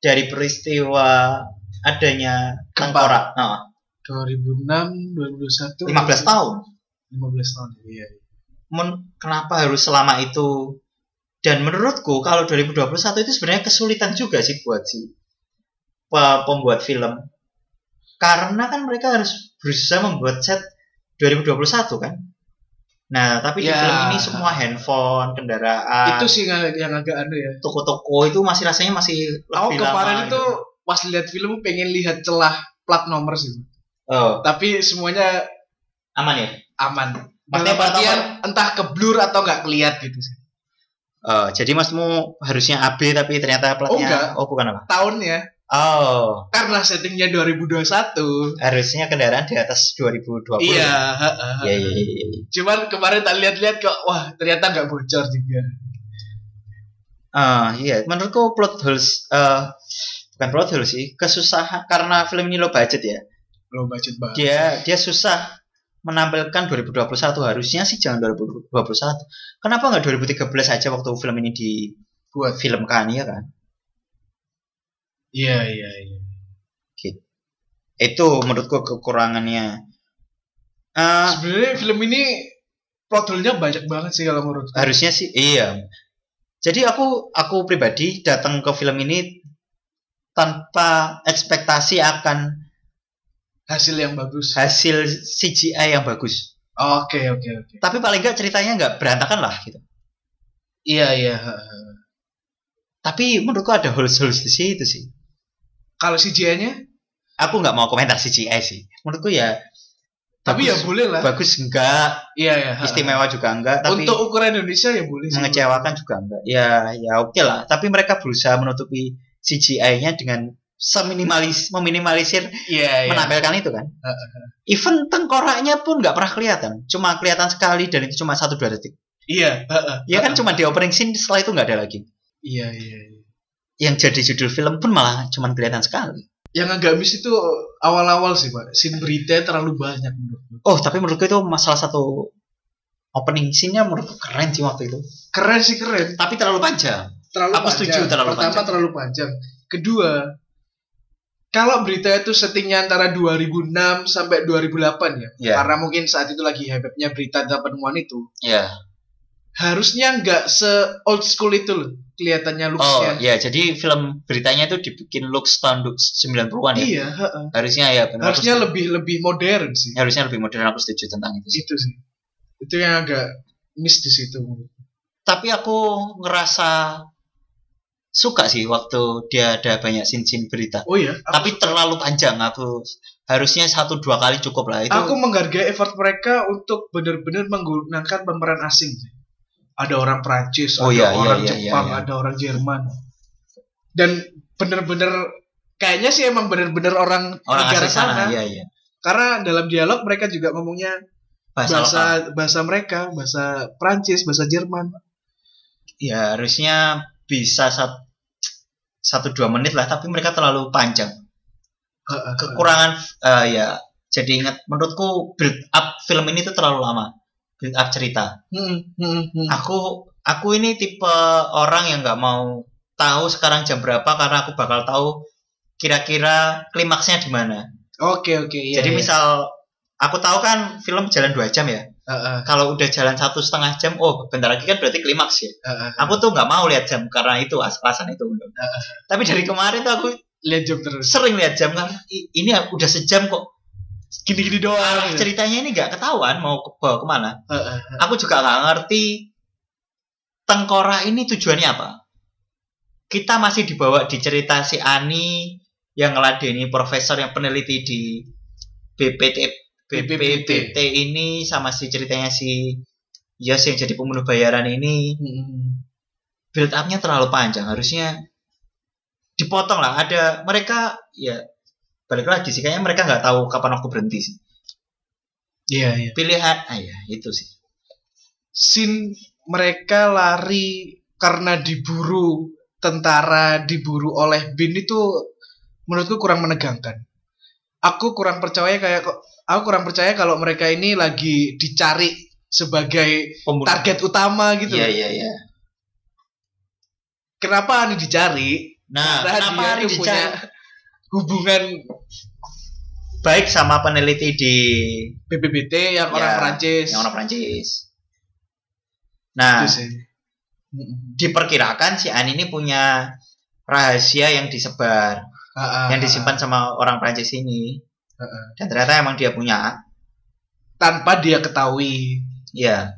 [SPEAKER 1] Dari peristiwa adanya
[SPEAKER 2] Gempa.
[SPEAKER 1] tengkorak. Nah,
[SPEAKER 2] 2006, 2021,
[SPEAKER 1] 15 tahun. Nah.
[SPEAKER 2] 15 tahun. Iya.
[SPEAKER 1] men- kenapa harus selama itu dan menurutku kalau 2021 itu sebenarnya kesulitan juga sih buat si pe- pembuat film karena kan mereka harus berusaha membuat set 2021 kan nah tapi di
[SPEAKER 2] Ya.
[SPEAKER 1] film ini semua handphone kendaraan
[SPEAKER 2] itu sih yang, yang agak aneh ya.
[SPEAKER 1] toko-toko itu masih rasanya masih lebih
[SPEAKER 2] Aku kemarin
[SPEAKER 1] lama
[SPEAKER 2] itu
[SPEAKER 1] gitu.
[SPEAKER 2] pas lihat film pengen lihat celah plat nomor sih,
[SPEAKER 1] oh,
[SPEAKER 2] tapi semuanya
[SPEAKER 1] aman ya
[SPEAKER 2] aman.
[SPEAKER 1] Maksudnya
[SPEAKER 2] Dalam
[SPEAKER 1] plat
[SPEAKER 2] artian entah ke blur atau nggak keliat gitu sih.
[SPEAKER 1] Oh, jadi masmu harusnya AB tapi ternyata
[SPEAKER 2] Oh, enggak.
[SPEAKER 1] oh bukan apa
[SPEAKER 2] Tahunnya
[SPEAKER 1] oh
[SPEAKER 2] karena settingnya 2021.
[SPEAKER 1] harusnya kendaraan di atas 2020
[SPEAKER 2] Iya.
[SPEAKER 1] ya?
[SPEAKER 2] heeh.
[SPEAKER 1] Iya, iya, iya, iya.
[SPEAKER 2] Cuman kemarin tak lihat-lihat kok, wah ternyata nggak bocor juga.
[SPEAKER 1] Ah, iya, menurutku plot holes eh bukan plot holes sih, kesusahan karena film ini low budget ya.
[SPEAKER 2] Lo budget banget.
[SPEAKER 1] Dia dia susah menampilkan 2021 harusnya sih jangan 2021. Kenapa nggak 2013 aja waktu film ini iya
[SPEAKER 2] Buat.
[SPEAKER 1] difilmkan ya kan?
[SPEAKER 2] Iya iya iya.
[SPEAKER 1] itu menurutku kekurangannya Eh,
[SPEAKER 2] Sebenarnya film ini plot hole-nya banyak banget sih kalau menurutku.
[SPEAKER 1] harusnya sih iya jadi aku aku pribadi datang ke film ini tanpa ekspektasi akan
[SPEAKER 2] Hasil yang bagus.
[SPEAKER 1] hasil CGI yang bagus
[SPEAKER 2] Oke, oke, oke.
[SPEAKER 1] tapi paling nggak ceritanya nggak berantakan lah gitu
[SPEAKER 2] Iya, iya.
[SPEAKER 1] tapi menurutku ada holes holes di situ sih
[SPEAKER 2] Kalau CGI-nya,
[SPEAKER 1] aku nggak mau komentar CGI sih menurutku ya
[SPEAKER 2] tapi ya
[SPEAKER 1] bagus,
[SPEAKER 2] boleh lah.
[SPEAKER 1] bagus enggak
[SPEAKER 2] Iya, iya. ha.
[SPEAKER 1] istimewa juga enggak tapi
[SPEAKER 2] Untuk ukuran Indonesia ya boleh. sih.
[SPEAKER 1] mengecewakan juga enggak ya ya oke lah tapi mereka berusaha menutupi CGI-nya dengan seminimalis meminimalisir
[SPEAKER 2] Iya, iya.
[SPEAKER 1] menampilkan itu kan even tengkoraknya pun nggak pernah kelihatan cuma kelihatan sekali dan itu cuma satu dua detik
[SPEAKER 2] Iya, ha, ha.
[SPEAKER 1] ya kan cuma di opening scene setelah itu nggak ada lagi
[SPEAKER 2] Iya, iya, iya.
[SPEAKER 1] yang jadi judul film pun malah cuma kelihatan sekali
[SPEAKER 2] Yang agak miss itu awal-awal sih, Pak. Scene berita terlalu banyak menurutku.
[SPEAKER 1] oh tapi menurutku itu masalah satu opening scene-nya menurutku keren sih waktu itu
[SPEAKER 2] Keren sih keren.
[SPEAKER 1] tapi terlalu panjang
[SPEAKER 2] Terlalu
[SPEAKER 1] Aku
[SPEAKER 2] panjang.
[SPEAKER 1] setuju, terlalu
[SPEAKER 2] Pertama
[SPEAKER 1] panjang.
[SPEAKER 2] terlalu panjang. Kedua, kalau berita itu settingnya antara 2006 sampai 2008 ya,
[SPEAKER 1] Iya.
[SPEAKER 2] karena mungkin saat itu lagi hype-nya berita tentang penemuan itu,
[SPEAKER 1] ya
[SPEAKER 2] harusnya nggak se old school itu loh
[SPEAKER 1] Oh
[SPEAKER 2] kelihatannya looks-nya.
[SPEAKER 1] ya, jadi film beritanya itu dibikin looks tahun du- 90-an ya.
[SPEAKER 2] Iya, heeh.
[SPEAKER 1] Harusnya ya benar.
[SPEAKER 2] harusnya
[SPEAKER 1] Aku
[SPEAKER 2] lebih lebih modern sih.
[SPEAKER 1] setuju. harusnya lebih modern aku setuju tentang itu sih.
[SPEAKER 2] Itu sih. Itu yang agak miss di situ.
[SPEAKER 1] Tapi aku ngerasa suka sih waktu dia ada banyak sin-sin berita.
[SPEAKER 2] Oh iya, aku,
[SPEAKER 1] Tapi terlalu panjang aku harusnya satu dua kali cukup lah itu.
[SPEAKER 2] aku menghargai effort mereka untuk benar-benar menggunakan pemeran asing. sih. Ada orang Prancis,
[SPEAKER 1] Oh
[SPEAKER 2] ada
[SPEAKER 1] iya, iya,
[SPEAKER 2] orang
[SPEAKER 1] iya, iya,
[SPEAKER 2] Jepang,
[SPEAKER 1] iya.
[SPEAKER 2] ada orang Jerman. Dan benar-benar kayaknya sih emang benar-benar orang,
[SPEAKER 1] orang
[SPEAKER 2] negara
[SPEAKER 1] asli sana, iya iya.
[SPEAKER 2] Karena dalam dialog mereka juga ngomongnya
[SPEAKER 1] Bahasa,
[SPEAKER 2] bahasa
[SPEAKER 1] lokal.
[SPEAKER 2] bahasa mereka, bahasa Prancis, bahasa Jerman.
[SPEAKER 1] Ya harusnya bisa sat- satu dua menit lah, tapi mereka terlalu panjang.
[SPEAKER 2] Heeh.
[SPEAKER 1] kekurangan eh, ya jadi ingat menurutku build up film ini tuh terlalu lama build up cerita
[SPEAKER 2] Heeh, heeh, heeh.
[SPEAKER 1] Ah. aku aku ini tipe orang yang nggak mau tahu sekarang jam berapa karena aku bakal tahu kira-kira klimaksnya di mana
[SPEAKER 2] Oke oke. iya,
[SPEAKER 1] jadi
[SPEAKER 2] iya.
[SPEAKER 1] misal aku tahu kan film jalan dua jam ya
[SPEAKER 2] Heeh,
[SPEAKER 1] kalau udah jalan satu setengah jam oh bentar lagi kan berarti klimaks ya
[SPEAKER 2] heeh.
[SPEAKER 1] aku tuh nggak mau lihat jam karena itu as- alasan itu tapi dari kemarin tuh aku
[SPEAKER 2] lihat job terus.
[SPEAKER 1] sering lihat jam kan "I- ini udah sejam kok
[SPEAKER 2] Gini-gini doang.
[SPEAKER 1] Arah ceritanya ini nggak ketahuan mau ke bawa kemana.
[SPEAKER 2] Heeh.
[SPEAKER 1] Aku juga nggak ngerti tengkorak ini tujuannya apa. Kita masih dibawa di cerita si Ani yang ngeladeni profesor yang peneliti di BPT BPPT ini sama si ceritanya si Yos yang jadi pembunuh bayaran ini
[SPEAKER 2] Heeh.
[SPEAKER 1] build up-nya terlalu panjang harusnya dipotong lah ada mereka ya balik lagi sih kayaknya mereka nggak tahu kapan aku berhenti sih
[SPEAKER 2] Iya iya.
[SPEAKER 1] pilihan ah ya itu sih
[SPEAKER 2] scene mereka lari karena diburu tentara diburu oleh bin itu menurutku kurang menegangkan. Aku kurang percaya kayak aku kurang percaya kalau mereka ini lagi dicari sebagai
[SPEAKER 1] Pembunuh.
[SPEAKER 2] target utama gitu.
[SPEAKER 1] Iya iya iya.
[SPEAKER 2] Kenapa ini dicari?
[SPEAKER 1] Nah,
[SPEAKER 2] Karena
[SPEAKER 1] kenapa
[SPEAKER 2] dia
[SPEAKER 1] Ari
[SPEAKER 2] tuh punya
[SPEAKER 1] dicari
[SPEAKER 2] hubungan
[SPEAKER 1] baik sama peneliti di
[SPEAKER 2] BPBT
[SPEAKER 1] Ya,
[SPEAKER 2] yang orang Prancis.
[SPEAKER 1] yang orang Prancis? Nah,
[SPEAKER 2] Itu sih. Mm-mm.
[SPEAKER 1] diperkirakan si Ani ini punya rahasia yang disebar,
[SPEAKER 2] Ah, ah,
[SPEAKER 1] yang
[SPEAKER 2] ah,
[SPEAKER 1] disimpan sama orang Prancis ini.
[SPEAKER 2] ah, ah.
[SPEAKER 1] Dan ternyata emang dia punya.
[SPEAKER 2] tanpa dia ketahui.
[SPEAKER 1] Iya.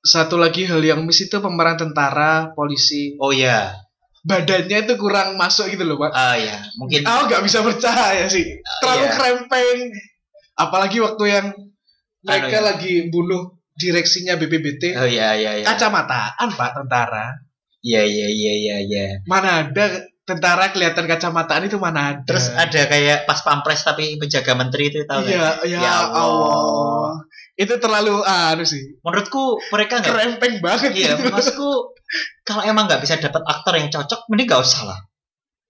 [SPEAKER 2] Satu lagi hal yang miss itu pemeran tentara, polisi,
[SPEAKER 1] Oh iya.
[SPEAKER 2] badannya itu kurang masuk gitu loh pak
[SPEAKER 1] Ah iya, mungkin
[SPEAKER 2] aku nggak bisa percaya sih terlalu
[SPEAKER 1] Iya.
[SPEAKER 2] krempeng apalagi waktu yang
[SPEAKER 1] Anu,
[SPEAKER 2] mereka
[SPEAKER 1] ya.
[SPEAKER 2] lagi bunuh direksinya BPBT
[SPEAKER 1] Oh iya iya iya.
[SPEAKER 2] kacamataan pak tentara
[SPEAKER 1] Iya iya iya iya iya.
[SPEAKER 2] mana ada tentara kelihatan kacamataan itu mana ada
[SPEAKER 1] Terus ada kayak pas pampres tapi penjaga menteri itu tahu nggak?
[SPEAKER 2] iya ya,
[SPEAKER 1] Ya
[SPEAKER 2] Allah.
[SPEAKER 1] Allah.
[SPEAKER 2] itu terlalu anu sih
[SPEAKER 1] Menurutku mereka nggak
[SPEAKER 2] krempeng banget
[SPEAKER 1] Iya,
[SPEAKER 2] gitu.
[SPEAKER 1] maksudku kalau emang nggak bisa dapat aktor yang cocok, mending nggak usah lah.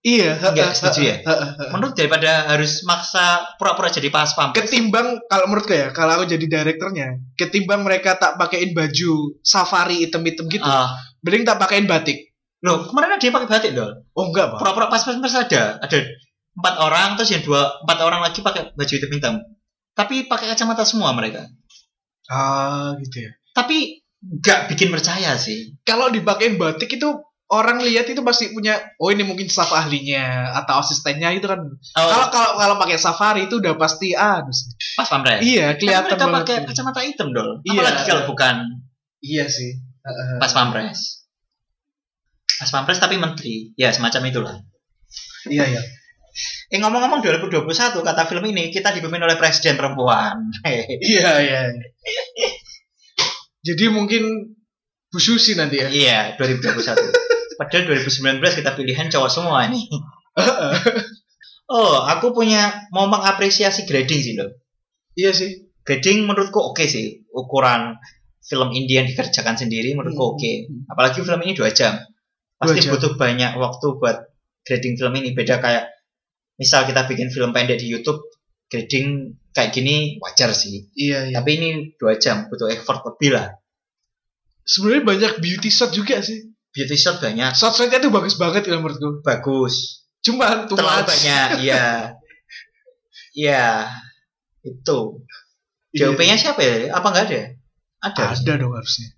[SPEAKER 2] iya
[SPEAKER 1] Nggak setuju ya?
[SPEAKER 2] Ha, ha, ha.
[SPEAKER 1] Menurut daripada harus maksa pura-pura jadi pas pam.
[SPEAKER 2] ketimbang kalau menurut gue ya kalau aku jadi direkturnya ketimbang mereka tak pakein baju safari item-item gitu
[SPEAKER 1] Ah,
[SPEAKER 2] Mending tak pakein batik.
[SPEAKER 1] loh kemarin ada yang pakai batik loh.
[SPEAKER 2] Oh enggak, Pak.
[SPEAKER 1] Pura-pura pas pam ada, ada empat orang terus yang dua empat orang lagi pakai baju hitam hitam tapi pakai kacamata semua mereka
[SPEAKER 2] ah gitu ya
[SPEAKER 1] tapi nggak bikin percaya sih
[SPEAKER 2] kalau dipakein batik itu orang lihat itu pasti punya oh ini mungkin staff ahlinya atau asistennya itu kan
[SPEAKER 1] Oh.
[SPEAKER 2] kalau kalau kalau pakai safari itu udah pasti ah aduh sih.
[SPEAKER 1] pas pamres
[SPEAKER 2] iya
[SPEAKER 1] Tapi
[SPEAKER 2] kelihatan
[SPEAKER 1] Kan mereka
[SPEAKER 2] banget
[SPEAKER 1] pakai
[SPEAKER 2] tuh.
[SPEAKER 1] kacamata hitam dong
[SPEAKER 2] Iya.
[SPEAKER 1] apalagi kalau bukan
[SPEAKER 2] iya sih Heeh.
[SPEAKER 1] pas pampres pas pampres tapi menteri ya semacam itulah
[SPEAKER 2] iya iya
[SPEAKER 1] eh ngomong-ngomong 2021 kata film ini kita dipimpin oleh presiden perempuan
[SPEAKER 2] iya iya jadi mungkin Bu Susi nanti ya
[SPEAKER 1] iya 2021 padahal 2019 kita pilihan cowok semua ini
[SPEAKER 2] Heeh.
[SPEAKER 1] oh aku punya mau mengapresiasi grading sih loh
[SPEAKER 2] iya sih
[SPEAKER 1] grading menurutku oke sih ukuran film India yang dikerjakan sendiri menurutku oke
[SPEAKER 2] Hmm.
[SPEAKER 1] apalagi film ini dua jam pasti
[SPEAKER 2] jam.
[SPEAKER 1] butuh banyak waktu buat grading film ini beda kayak misal kita bikin film pendek di YouTube grading kayak gini wajar sih
[SPEAKER 2] iya iya
[SPEAKER 1] tapi ini dua jam butuh effort lebih lah
[SPEAKER 2] sebenarnya banyak beauty shot juga sih
[SPEAKER 1] beauty shot banyak
[SPEAKER 2] shot-shotnya tuh bagus banget ya menurutku
[SPEAKER 1] bagus
[SPEAKER 2] cuma tuh
[SPEAKER 1] terlalu banyak iya iya itu
[SPEAKER 2] Iya.
[SPEAKER 1] DOP-nya siapa ya apa nggak ada ada,
[SPEAKER 2] ada dong harusnya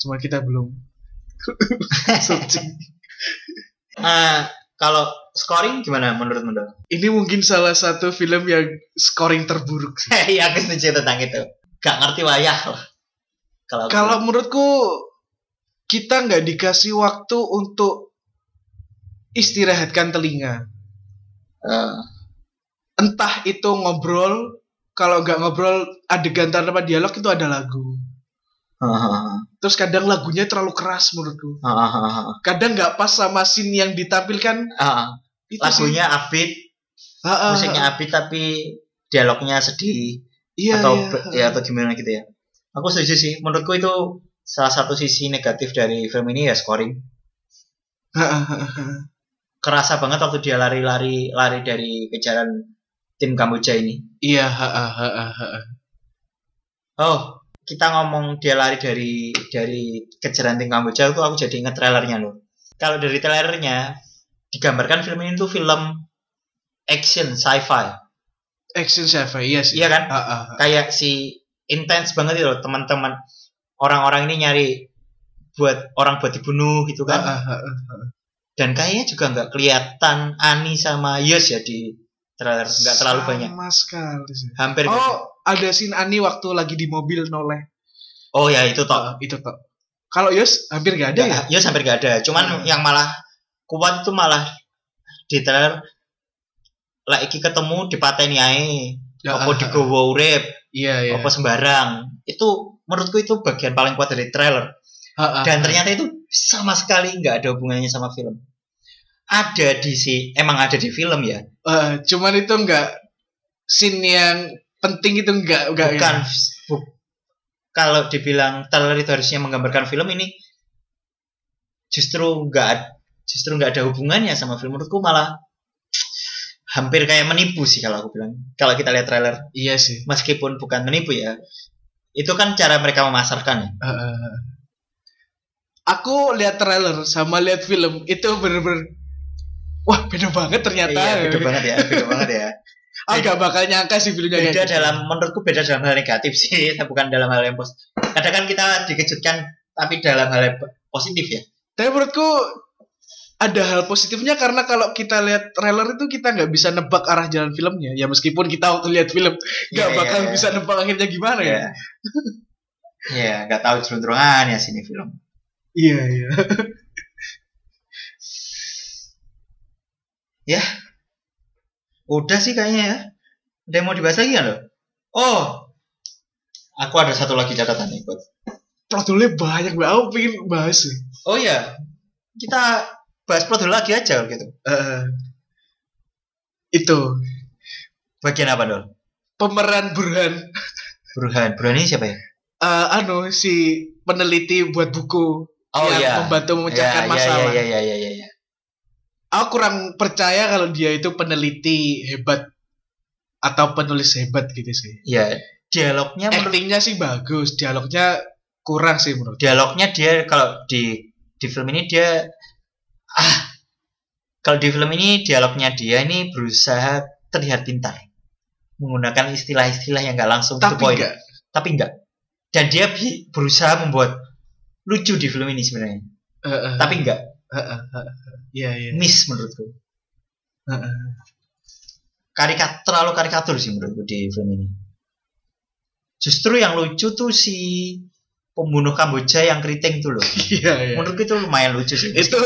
[SPEAKER 2] cuma kita belum searching.
[SPEAKER 1] Ah, kalau scoring gimana menurut menurut
[SPEAKER 2] ini mungkin salah satu film yang scoring terburuk sih.
[SPEAKER 1] Iya, aku setuju tentang itu. Gak ngerti wayah lah. Kalau aku-
[SPEAKER 2] kalau menurutku kita nggak dikasih waktu untuk istirahatkan telinga
[SPEAKER 1] Eh,
[SPEAKER 2] entah itu ngobrol kalau nggak ngobrol adegan tanpa dialog itu ada lagu
[SPEAKER 1] eh,
[SPEAKER 2] terus kadang lagunya terlalu keras menurutku
[SPEAKER 1] eh,
[SPEAKER 2] kadang nggak pas sama scene yang ditampilkan
[SPEAKER 1] Ah,
[SPEAKER 2] itu sih.
[SPEAKER 1] lagunya upbeat,
[SPEAKER 2] Ah, ah, ah.
[SPEAKER 1] musiknya upbeat tapi dialognya sedih
[SPEAKER 2] Iya,
[SPEAKER 1] atau
[SPEAKER 2] iya.
[SPEAKER 1] ber- ya atau gimana gitu ya. Aku setuju sih. Menurutku itu salah satu sisi negatif dari film ini ya scoring.
[SPEAKER 2] Ah, ah, ah, ah.
[SPEAKER 1] Kerasa banget waktu dia lari-lari lari dari kejaran tim Kamboja ini.
[SPEAKER 2] Iya, ha, ha, ha, ha, ha.
[SPEAKER 1] Oh, kita ngomong dia lari dari dari kejaran tim Kamboja itu aku jadi inget trailernya loh. Kalau dari trailernya digambarkan film ini tuh film action sci-fi,
[SPEAKER 2] Action Seven, iya sih.
[SPEAKER 1] iya kan?
[SPEAKER 2] Ah, ah, ah.
[SPEAKER 1] Kayak si intens banget itu loh teman-teman orang-orang ini nyari buat orang buat dibunuh gitu
[SPEAKER 2] Ah,
[SPEAKER 1] kan.
[SPEAKER 2] ah, ah, ah.
[SPEAKER 1] Dan kayaknya juga nggak kelihatan Ani sama Yus ya di trailer, nggak terlalu banyak.
[SPEAKER 2] Sama sekali sih.
[SPEAKER 1] Hampir. nggak ada.
[SPEAKER 2] Oh, ada scene Ani waktu lagi di mobil noleh.
[SPEAKER 1] Oh ya itu toh.
[SPEAKER 2] Ah, itu toh. Kalau Yus hampir gak ada ya?
[SPEAKER 1] ya sampai gak ada cuman
[SPEAKER 2] Hmm.
[SPEAKER 1] yang malah kuat itu malah di trailer lah iki ketemu di pateni ae apa
[SPEAKER 2] Ah, ah, ah.
[SPEAKER 1] digowo urip
[SPEAKER 2] Iya, iya.
[SPEAKER 1] apa sembarang itu menurutku itu bagian paling kuat dari trailer
[SPEAKER 2] Ah, ah,
[SPEAKER 1] dan
[SPEAKER 2] ah.
[SPEAKER 1] ternyata itu sama sekali nggak ada hubungannya sama film ada di si emang ada di film ya
[SPEAKER 2] Ah, cuman itu enggak scene yang penting itu ya? enggak enggak
[SPEAKER 1] bukan bu- kalau dibilang trailer itu harusnya menggambarkan film ini justru nggak justru nggak ada hubungannya sama film menurutku malah hampir kayak menipu sih kalau aku bilang kalau kita lihat trailer
[SPEAKER 2] Iya sih.
[SPEAKER 1] meskipun bukan menipu ya itu kan cara mereka memasarkan ya
[SPEAKER 2] Ah, ah, ah. Aku lihat trailer sama lihat film itu bener-bener Wah beda banget ternyata
[SPEAKER 1] iya beda banget ya beda banget ya
[SPEAKER 2] Ah, gak bakal nyangka sih filmnya kayak
[SPEAKER 1] beda
[SPEAKER 2] gitu.
[SPEAKER 1] dalam menurutku beda dalam hal negatif sih bukan dalam hal yang positif kadang kan kita dikejutkan tapi dalam hal yang positif ya
[SPEAKER 2] Tapi menurutku ada hal positifnya karena kalau kita lihat trailer itu kita nggak bisa nebak arah jalan filmnya ya meskipun kita waktu lihat film nggak
[SPEAKER 1] Iya,
[SPEAKER 2] bakal
[SPEAKER 1] iya, iya.
[SPEAKER 2] bisa nebak akhirnya gimana ya.
[SPEAKER 1] ya ya nggak tahu selundrungan ya sini film
[SPEAKER 2] Iya iya.
[SPEAKER 1] Udah sih kayaknya ya. Ada yang mau dibahas lagi nggak lo? Oh, aku ada satu lagi catatan nih buat.
[SPEAKER 2] Plot hole-nya banyak banget. Aku pengen bahas sih.
[SPEAKER 1] Oh iya, kita bahas plot dulu lagi aja gitu.
[SPEAKER 2] Eh, itu
[SPEAKER 1] Bagian apa dong?
[SPEAKER 2] pemeran Burhan
[SPEAKER 1] Burhan, Burhan ini siapa ya?
[SPEAKER 2] eh anu si peneliti buat buku
[SPEAKER 1] Oh
[SPEAKER 2] yang
[SPEAKER 1] iya.
[SPEAKER 2] membantu memecahkan
[SPEAKER 1] Iya,
[SPEAKER 2] masalah.
[SPEAKER 1] Iya iya iya iya iya.
[SPEAKER 2] Aku kurang percaya kalau dia itu peneliti hebat atau penulis hebat gitu sih.
[SPEAKER 1] Iya. Dialognya menurut
[SPEAKER 2] actingnya sih bagus dialognya kurang sih menurut
[SPEAKER 1] dialognya dia kalau di di film ini dia ah Kalau di film ini dialognya dia ini berusaha terlihat pintar menggunakan istilah-istilah yang nggak langsung to
[SPEAKER 2] tapi
[SPEAKER 1] the point.
[SPEAKER 2] enggak
[SPEAKER 1] Tapi enggak. Dan dia bi- berusaha membuat lucu di film ini sebenarnya.
[SPEAKER 2] Hmm. Heeh,
[SPEAKER 1] Tapi enggak.
[SPEAKER 2] heeh, heeh. iya iya
[SPEAKER 1] Miss menurutku.
[SPEAKER 2] Heeh.
[SPEAKER 1] Karikat terlalu karikatur sih menurutku di film ini. Justru yang lucu tuh si pembunuh Kamboja yang keriting tuh loh.
[SPEAKER 2] iya iya
[SPEAKER 1] Menurutku itu lumayan lucu sih.
[SPEAKER 2] itu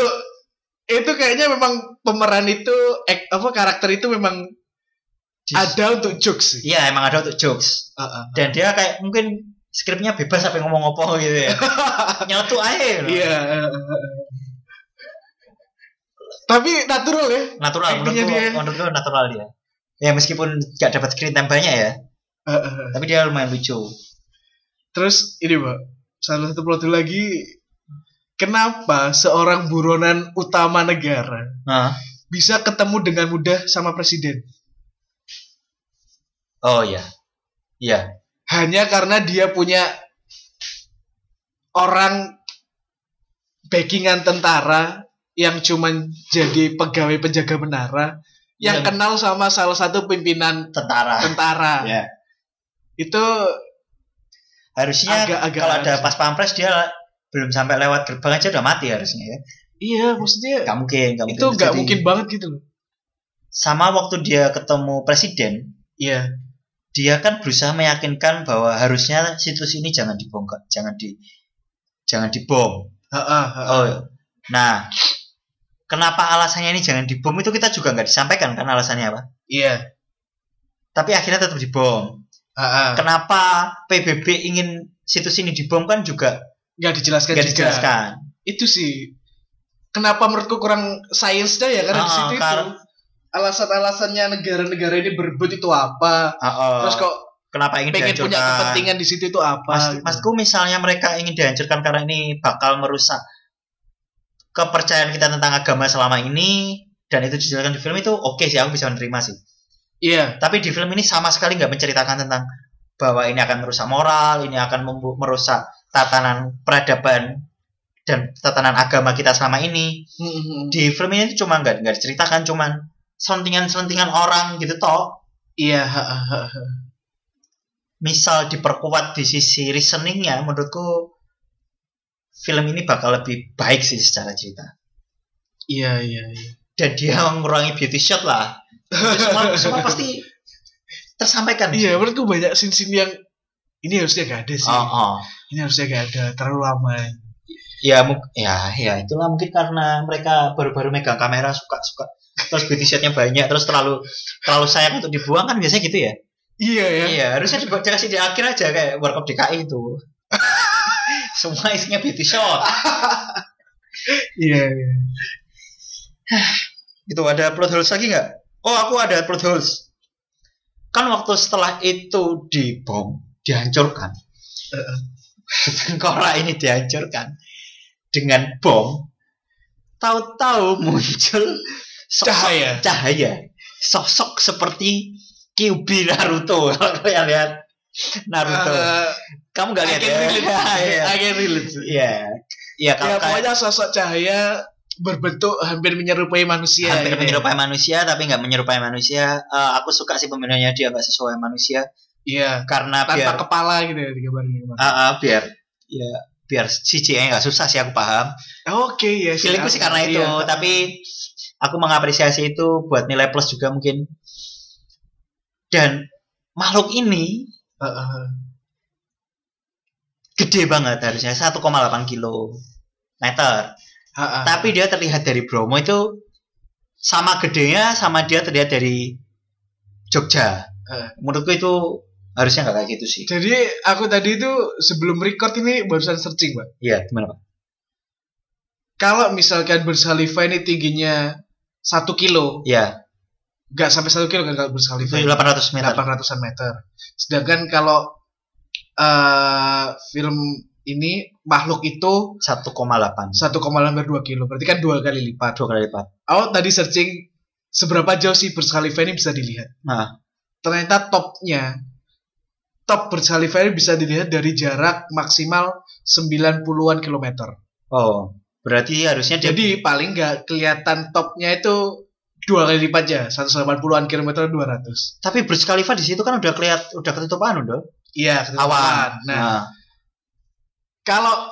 [SPEAKER 2] itu kayaknya memang pemeran itu ek- apa karakter itu memang
[SPEAKER 1] Di-
[SPEAKER 2] ada untuk jokes sih
[SPEAKER 1] Iya emang ada untuk jokes
[SPEAKER 2] Heeh.
[SPEAKER 1] dan dia kayak mungkin skripnya bebas apa yang ngomong apa gitu ya. Nyatu aja. gitu.
[SPEAKER 2] iya heeh, heeh. tapi natural ya
[SPEAKER 1] Natural
[SPEAKER 2] Actingnya
[SPEAKER 1] menurutku,
[SPEAKER 2] dia.
[SPEAKER 1] menurutku natural dia. Ya meskipun gak dapat screen time banyak ya,
[SPEAKER 2] Heeh, heeh.
[SPEAKER 1] tapi dia lumayan lucu.
[SPEAKER 2] Terus ini pak, salah satu plot lagi, kenapa seorang buronan utama negara
[SPEAKER 1] Hah?
[SPEAKER 2] bisa ketemu dengan mudah sama presiden?
[SPEAKER 1] Oh iya. Iya.
[SPEAKER 2] Hanya karena dia punya orang backingan tentara yang cuman jadi pegawai penjaga menara yang
[SPEAKER 1] Iya.
[SPEAKER 2] kenal sama salah satu pimpinan
[SPEAKER 1] Tentara.
[SPEAKER 2] tentara
[SPEAKER 1] Iya.
[SPEAKER 2] itu
[SPEAKER 1] harusnya
[SPEAKER 2] Agak-agak
[SPEAKER 1] kalau ada
[SPEAKER 2] harusnya.
[SPEAKER 1] pas pampres dia belum sampai lewat gerbang aja udah mati harusnya ya
[SPEAKER 2] iya maksudnya
[SPEAKER 1] nggak mungkin nggak mungkin
[SPEAKER 2] itu nggak
[SPEAKER 1] terjadi.
[SPEAKER 2] mungkin banget gitu loh
[SPEAKER 1] sama waktu dia ketemu presiden
[SPEAKER 2] iya
[SPEAKER 1] dia kan berusaha meyakinkan bahwa harusnya situs ini jangan dibongkar jangan di jangan dibom
[SPEAKER 2] Heeh, heeh.
[SPEAKER 1] oh nah kenapa alasannya ini jangan dibom itu kita juga nggak disampaikan kan alasannya apa
[SPEAKER 2] iya
[SPEAKER 1] tapi akhirnya tetap dibom
[SPEAKER 2] Heeh.
[SPEAKER 1] kenapa PBB ingin situs ini dibom kan juga
[SPEAKER 2] nggak dijelaskan
[SPEAKER 1] nggak
[SPEAKER 2] juga.
[SPEAKER 1] dijelaskan
[SPEAKER 2] Itu sih kenapa menurutku kurang sainsnya ya karena di
[SPEAKER 1] Ah,
[SPEAKER 2] situ itu
[SPEAKER 1] karena-
[SPEAKER 2] alasan-alasannya negara-negara ini berebut itu apa?
[SPEAKER 1] Ah, oh.
[SPEAKER 2] Terus kok
[SPEAKER 1] kenapa ingin
[SPEAKER 2] pengen punya
[SPEAKER 1] dihancurkan?
[SPEAKER 2] kepentingan di situ itu apa?
[SPEAKER 1] Mas,
[SPEAKER 2] gitu.
[SPEAKER 1] masku misalnya mereka ingin dihancurkan karena ini bakal merusak kepercayaan kita tentang agama selama ini dan itu dijelaskan di film itu oke sih aku bisa menerima sih.
[SPEAKER 2] Iya,
[SPEAKER 1] Tapi di film ini sama sekali nggak menceritakan tentang bahwa ini akan merusak moral, ini akan membu- merusak tatanan peradaban dan tatanan agama kita selama ini.
[SPEAKER 2] Mm-mm.
[SPEAKER 1] Di film ini cuma nggak nggak diceritakan cuman selentingan-selentingan orang gitu toh.
[SPEAKER 2] iya, ha, ha, ha, ha.
[SPEAKER 1] Misal diperkuat di sisi reasoningnya menurutku film ini bakal lebih baik sih secara cerita.
[SPEAKER 2] iya, iya, iya.
[SPEAKER 1] dan dia mengurangi beauty shot lah Itu semua semua pasti tersampaikan
[SPEAKER 2] Iya, menurutku banyak scene-scene yang ini harusnya gak ada sih.
[SPEAKER 1] oh, oh.
[SPEAKER 2] Ini harusnya gak ada terlalu lama.
[SPEAKER 1] ya mu- ya ya itulah mungkin karena mereka baru-baru megang kamera suka suka terus beauty shotnya banyak terus terlalu terlalu sayang untuk dibuang kan biasanya gitu ya
[SPEAKER 2] Iya ya.
[SPEAKER 1] iya harusnya dibuat dikasih di akhir aja kayak workup DKI itu semua isinya beauty shot
[SPEAKER 2] Iya, iya.
[SPEAKER 1] itu ada plot holes lagi nggak oh aku ada plot holes kan waktu setelah itu dibom dihancurkan
[SPEAKER 2] Heeh.
[SPEAKER 1] tengkorak ini dihancurkan dengan bom tahu-tahu muncul sosok
[SPEAKER 2] Cahaya.
[SPEAKER 1] cahaya sosok seperti Kyuubi Naruto kalau kalian lihat Naruto
[SPEAKER 2] Eh,
[SPEAKER 1] kamu nggak
[SPEAKER 2] I
[SPEAKER 1] lihat
[SPEAKER 2] can
[SPEAKER 1] ya
[SPEAKER 2] relate.
[SPEAKER 1] Iya.
[SPEAKER 2] I can relate.
[SPEAKER 1] iya iya
[SPEAKER 2] ya
[SPEAKER 1] kalau kayak
[SPEAKER 2] pokoknya sosok cahaya berbentuk hampir menyerupai manusia
[SPEAKER 1] hampir
[SPEAKER 2] gitu ya.
[SPEAKER 1] menyerupai manusia tapi nggak menyerupai manusia Eh, aku suka sih pemilihannya dia nggak sesuai manusia
[SPEAKER 2] iya
[SPEAKER 1] karena
[SPEAKER 2] tanpa
[SPEAKER 1] biar
[SPEAKER 2] kepala gitu ya digambarnya kemarin
[SPEAKER 1] Ah, ah, biar ya biar CGI nggak susah sih aku paham
[SPEAKER 2] oke ya
[SPEAKER 1] feelingku sih karena itu
[SPEAKER 2] Iya.
[SPEAKER 1] tapi aku mengapresiasi itu buat nilai plus juga mungkin dan makhluk ini
[SPEAKER 2] Heeh.
[SPEAKER 1] gede banget harusnya 1,8 kilo meter
[SPEAKER 2] Heeh.
[SPEAKER 1] tapi dia terlihat dari Bromo itu sama gedenya sama dia terlihat dari Jogja
[SPEAKER 2] Heeh.
[SPEAKER 1] menurutku itu harusnya nggak kayak gitu sih
[SPEAKER 2] jadi aku tadi itu sebelum record ini barusan searching pak
[SPEAKER 1] iya gimana Pak?
[SPEAKER 2] kalau misalkan bersaliva ini tingginya satu kilo
[SPEAKER 1] iya
[SPEAKER 2] nggak sampai satu kilo kan kalau
[SPEAKER 1] itu
[SPEAKER 2] bersaliva
[SPEAKER 1] 800 meter
[SPEAKER 2] 800-an meter sedangkan kalau eh film ini makhluk itu
[SPEAKER 1] 1,8
[SPEAKER 2] 1,2 kilo berarti kan dua kali lipat
[SPEAKER 1] dua kali lipat
[SPEAKER 2] Aku tadi searching seberapa jauh sih Burj Khalifa ini bisa dilihat.
[SPEAKER 1] nah
[SPEAKER 2] Ternyata topnya top Burj Khalifa ini bisa dilihat dari jarak maksimal 90-an kilometer.
[SPEAKER 1] oh Berarti harusnya dia
[SPEAKER 2] Jadi paling nggak kelihatan topnya itu dua kali ya, lipatnya, 180-an kilometer 200.
[SPEAKER 1] tapi Burj Khalifa di situ kan udah kelihat udah ketutup anu dong.
[SPEAKER 2] Iya, ketutupan.
[SPEAKER 1] Awan.
[SPEAKER 2] Nah, kalau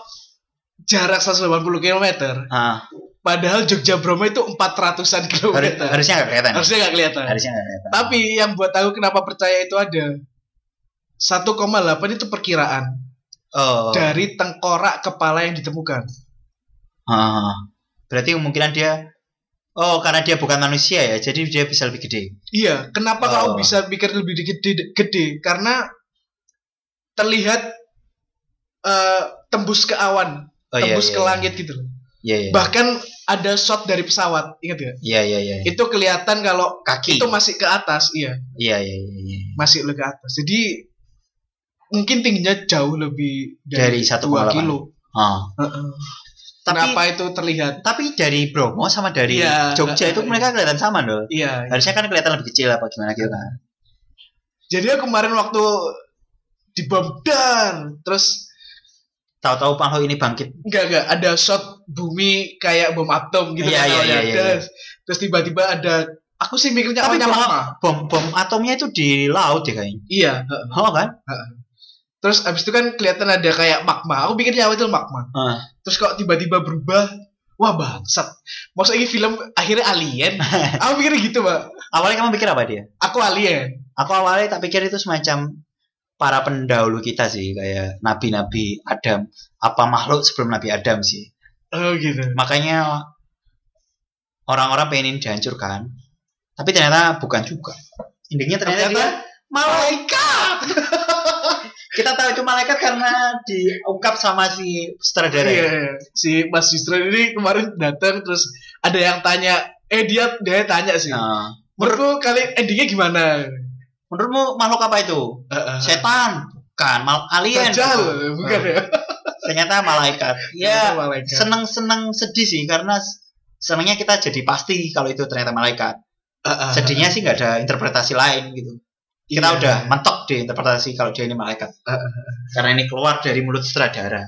[SPEAKER 2] jarak 180 km,
[SPEAKER 1] Nah, ah.
[SPEAKER 2] padahal Jogja Bromo itu 400-an
[SPEAKER 1] Haru-
[SPEAKER 2] kilometer.
[SPEAKER 1] harusnya nggak kelihatan.
[SPEAKER 2] Harusnya nggak kelihatan.
[SPEAKER 1] Harusnya nggak kelihatan.
[SPEAKER 2] Tapi yang buat aku kenapa percaya itu ada 1,8 itu perkiraan
[SPEAKER 1] Oh.
[SPEAKER 2] dari tengkorak kepala yang ditemukan.
[SPEAKER 1] Ah. Berarti kemungkinan dia Oh, karena dia bukan manusia ya, jadi dia bisa lebih gede.
[SPEAKER 2] Iya, kenapa
[SPEAKER 1] Oh.
[SPEAKER 2] kamu bisa pikir lebih gede, gede? Karena terlihat eh, tembus ke awan,
[SPEAKER 1] Oh iya. iya,
[SPEAKER 2] tembus ke
[SPEAKER 1] iya.
[SPEAKER 2] langit gitu. loh.
[SPEAKER 1] Iya iya.
[SPEAKER 2] Bahkan ada shot dari pesawat, ingat gak?
[SPEAKER 1] Iya iya iya.
[SPEAKER 2] Itu kelihatan kalau
[SPEAKER 1] Kaki.
[SPEAKER 2] itu masih ke atas, iya,
[SPEAKER 1] Iya iya iya. iya.
[SPEAKER 2] masih ke atas. Jadi mungkin tingginya jauh lebih
[SPEAKER 1] Dari
[SPEAKER 2] dari, 2
[SPEAKER 1] 1,8.
[SPEAKER 2] kilo.
[SPEAKER 1] Ah.
[SPEAKER 2] Heeh.
[SPEAKER 1] Tapi
[SPEAKER 2] Kenapa itu terlihat?
[SPEAKER 1] tapi dari Bromo sama dari
[SPEAKER 2] Iya,
[SPEAKER 1] Jogja
[SPEAKER 2] nggak-
[SPEAKER 1] itu mereka kelihatan sama loh.
[SPEAKER 2] Iya.
[SPEAKER 1] Harusnya kan kelihatan lebih kecil apa gimana gitu kan.
[SPEAKER 2] Jadi aku kemarin waktu di bom dan terus
[SPEAKER 1] Tahu-tahu makhluk ini bangkit.
[SPEAKER 2] enggak enggak ada shot bumi kayak bom atom gitu
[SPEAKER 1] Iya,
[SPEAKER 2] kan,
[SPEAKER 1] iya,
[SPEAKER 2] awalnya.
[SPEAKER 1] iya, iya.
[SPEAKER 2] Terus- Terus tiba-tiba ada aku sih mikirnya
[SPEAKER 1] Tapi
[SPEAKER 2] awalnya
[SPEAKER 1] bom,
[SPEAKER 2] lama.
[SPEAKER 1] bom bom atomnya itu di laut ya kayaknya.
[SPEAKER 2] Iya, heeh.
[SPEAKER 1] Oh kan?
[SPEAKER 2] Terus abis itu kan kelihatan ada kayak magma. Aku pikirnya awal itu magma.
[SPEAKER 1] Heeh.
[SPEAKER 2] Terus kok tiba-tiba berubah. Wah bangsat. Maksudnya ini film akhirnya alien. aku pikirnya gitu, Pak.
[SPEAKER 1] awalnya kamu pikir apa dia?
[SPEAKER 2] Aku alien.
[SPEAKER 1] Aku awalnya tak pikir itu semacam para pendahulu kita sih kayak nabi-nabi Adam apa makhluk sebelum Nabi Adam sih
[SPEAKER 2] Oh gitu.
[SPEAKER 1] makanya orang-orang pengen dihancurkan tapi ternyata bukan juga intinya ternyata,
[SPEAKER 2] Ternyata
[SPEAKER 1] dia malaikat kita tahu itu malaikat karena diungkap sama si sutradara
[SPEAKER 2] Iya,
[SPEAKER 1] ya?
[SPEAKER 2] iya. si Mas Justro ini kemarin datang terus ada yang tanya, eh dia dia tanya sih.
[SPEAKER 1] Nah,
[SPEAKER 2] Menurutku kali endingnya gimana?
[SPEAKER 1] menurutmu makhluk apa itu
[SPEAKER 2] Heeh.
[SPEAKER 1] setan bukan mal alien
[SPEAKER 2] Nah. Dajjal, bukan
[SPEAKER 1] Iya.
[SPEAKER 2] ya?
[SPEAKER 1] ternyata malaikat ya
[SPEAKER 2] Ternyata malaikat.
[SPEAKER 1] seneng-seneng sedih sih karena s- senengnya kita jadi pasti kalau itu ternyata malaikat.
[SPEAKER 2] Heeh.
[SPEAKER 1] Sedihnya sih nggak ada interpretasi lain gitu. Kita
[SPEAKER 2] Iya.
[SPEAKER 1] udah mentok di interpretasi kalau dia ini malaikat.
[SPEAKER 2] Ah,
[SPEAKER 1] Karena ini keluar dari mulut sutradara.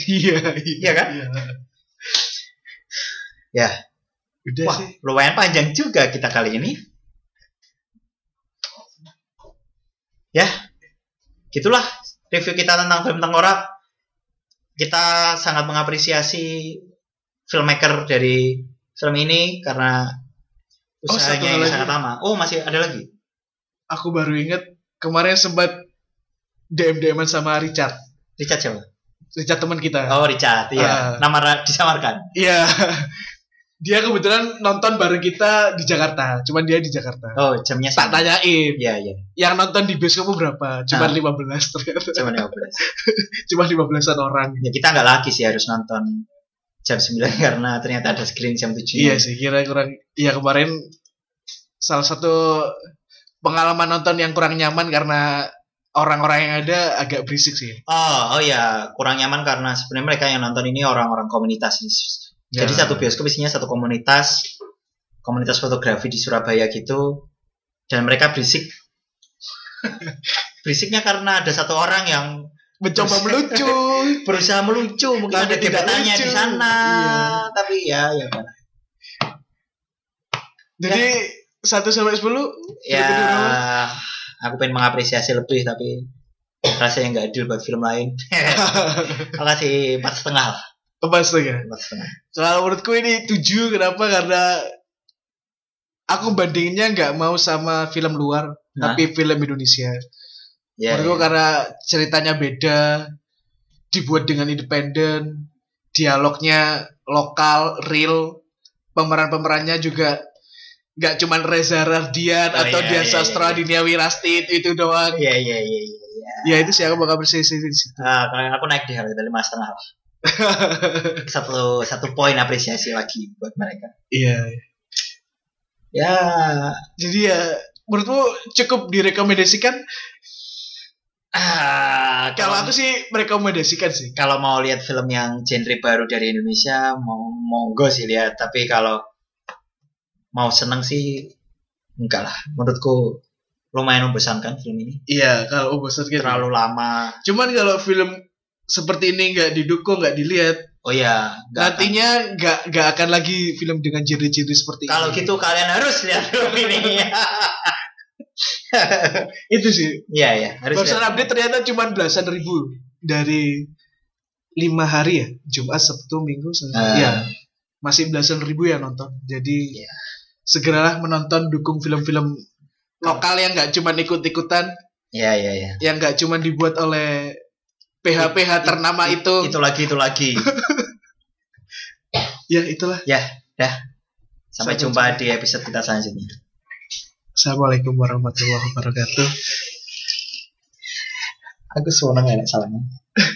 [SPEAKER 2] Iya,
[SPEAKER 1] Iya kan? Ya.
[SPEAKER 2] Udah
[SPEAKER 1] Wah,
[SPEAKER 2] Iya sih.
[SPEAKER 1] lumayan panjang juga kita kali ini. Ya, gitulah review kita tentang film Tengkorak. Kita sangat mengapresiasi filmmaker dari film ini karena
[SPEAKER 2] Oh, satu
[SPEAKER 1] usahanya yang
[SPEAKER 2] lagi.
[SPEAKER 1] sangat lama. Oh, masih ada lagi?
[SPEAKER 2] Aku baru inget kemarin sempat DM DM sama Richard.
[SPEAKER 1] Richard siapa?
[SPEAKER 2] Richard teman kita.
[SPEAKER 1] Oh, Richard, iya.
[SPEAKER 2] Ah.
[SPEAKER 1] Nama ra- disamarkan.
[SPEAKER 2] Iya. Dia kebetulan nonton bareng kita di Jakarta. Cuman dia di Jakarta.
[SPEAKER 1] Oh, jamnya
[SPEAKER 2] Tak
[SPEAKER 1] sama.
[SPEAKER 2] tanyain,
[SPEAKER 1] Iya, iya.
[SPEAKER 2] yang nonton di bioskop berapa? Cuman
[SPEAKER 1] Ah.
[SPEAKER 2] 15 ternyata.
[SPEAKER 1] Jam 12.
[SPEAKER 2] Cuma 15-an orang.
[SPEAKER 1] Ya, kita nggak lagi sih harus nonton jam 9 karena ternyata ada screen jam 7.
[SPEAKER 2] Iya sih, kira kurang. Iya kemarin salah satu pengalaman nonton yang kurang nyaman karena orang-orang yang ada agak berisik sih.
[SPEAKER 1] Oh, oh ya, kurang nyaman karena sebenarnya mereka yang nonton ini orang-orang komunitas. Jadi
[SPEAKER 2] Ya.
[SPEAKER 1] satu bioskop isinya satu komunitas, komunitas fotografi di Surabaya gitu, dan mereka berisik. Berisiknya karena ada satu orang yang
[SPEAKER 2] mencoba melucu.
[SPEAKER 1] berusaha melucu, mungkin
[SPEAKER 2] Tapi
[SPEAKER 1] ada
[SPEAKER 2] tidak
[SPEAKER 1] gebetannya
[SPEAKER 2] lucu.
[SPEAKER 1] di sana,
[SPEAKER 2] Iya.
[SPEAKER 1] tapi ya, ya,
[SPEAKER 2] Jadi satu sampai sepuluh.
[SPEAKER 1] ya,
[SPEAKER 2] Kira-kira berapa?
[SPEAKER 1] aku pengen mengapresiasi lebih tapi rasanya nggak adil buat film lain. Aku kasih empat setengah lah,
[SPEAKER 2] Apa setengah?
[SPEAKER 1] empat setengah.
[SPEAKER 2] Kalau ya. menurutku ini tujuh kenapa? Karena aku bandinginnya nggak mau sama film luar,
[SPEAKER 1] Nah,
[SPEAKER 2] tapi kan- film Indonesia.
[SPEAKER 1] ya,
[SPEAKER 2] Menurutku
[SPEAKER 1] ya.
[SPEAKER 2] karena ceritanya beda, dibuat dengan independen, dialognya lokal, real, pemeran-pemerannya juga nggak cuman Reza Rardian
[SPEAKER 1] Oh,
[SPEAKER 2] atau
[SPEAKER 1] iya,
[SPEAKER 2] Dian
[SPEAKER 1] iya,
[SPEAKER 2] Sastra
[SPEAKER 1] iya.
[SPEAKER 2] Dinia Wirasti itu, itu doang.
[SPEAKER 1] Iya, iya, iya, iya. iya.
[SPEAKER 2] Ya itu sih aku bakal bersisi
[SPEAKER 1] Nah, kalau aku naik di harga lima setengah lah. Satu satu poin apresiasi lagi buat mereka.
[SPEAKER 2] Iya.
[SPEAKER 1] Ya,
[SPEAKER 2] Jadi ya menurutmu cukup direkomendasikan?
[SPEAKER 1] ah,
[SPEAKER 2] Kalau aku sih merekomendasikan sih.
[SPEAKER 1] kalau mau lihat film yang genre baru dari Indonesia, mau monggo sih lihat. Tapi kalau mau seneng sih enggak lah. Menurutku lumayan membosankan film ini.
[SPEAKER 2] Iya, kalau bosan gitu.
[SPEAKER 1] Terlalu lama.
[SPEAKER 2] Cuman kalau film seperti ini nggak didukung, nggak dilihat,
[SPEAKER 1] Oh iya, nggak akan.
[SPEAKER 2] Nantinya nggak nggak akan lagi film dengan genre-genre seperti
[SPEAKER 1] Kalau
[SPEAKER 2] ini.
[SPEAKER 1] gitu kalian harus lihat film ini.
[SPEAKER 2] itu sih.
[SPEAKER 1] Iya ya, harus.
[SPEAKER 2] Barusan
[SPEAKER 1] lihat.
[SPEAKER 2] update ternyata cuma belasan ribu dari lima hari ya, Jumat, Sabtu, Minggu, Senin.
[SPEAKER 1] Eh.
[SPEAKER 2] Ya, masih belasan ribu ya nonton. Jadi
[SPEAKER 1] Iya.
[SPEAKER 2] segeralah menonton dukung film-film
[SPEAKER 1] Ah.
[SPEAKER 2] lokal yang nggak cuma ikut-ikutan,
[SPEAKER 1] Iya iya iya.
[SPEAKER 2] yang nggak cuma dibuat oleh PH-PH ternama
[SPEAKER 1] It-
[SPEAKER 2] itu.
[SPEAKER 1] Itu lagi itu lagi.
[SPEAKER 2] Ya itulah.
[SPEAKER 1] ya, dah. Sampai
[SPEAKER 2] Sampai
[SPEAKER 1] jumpa
[SPEAKER 2] jumpa.
[SPEAKER 1] di episode kita selanjutnya.
[SPEAKER 2] Assalamualaikum warahmatullahi wabarakatuh.
[SPEAKER 1] Aku seneng enak salahnya.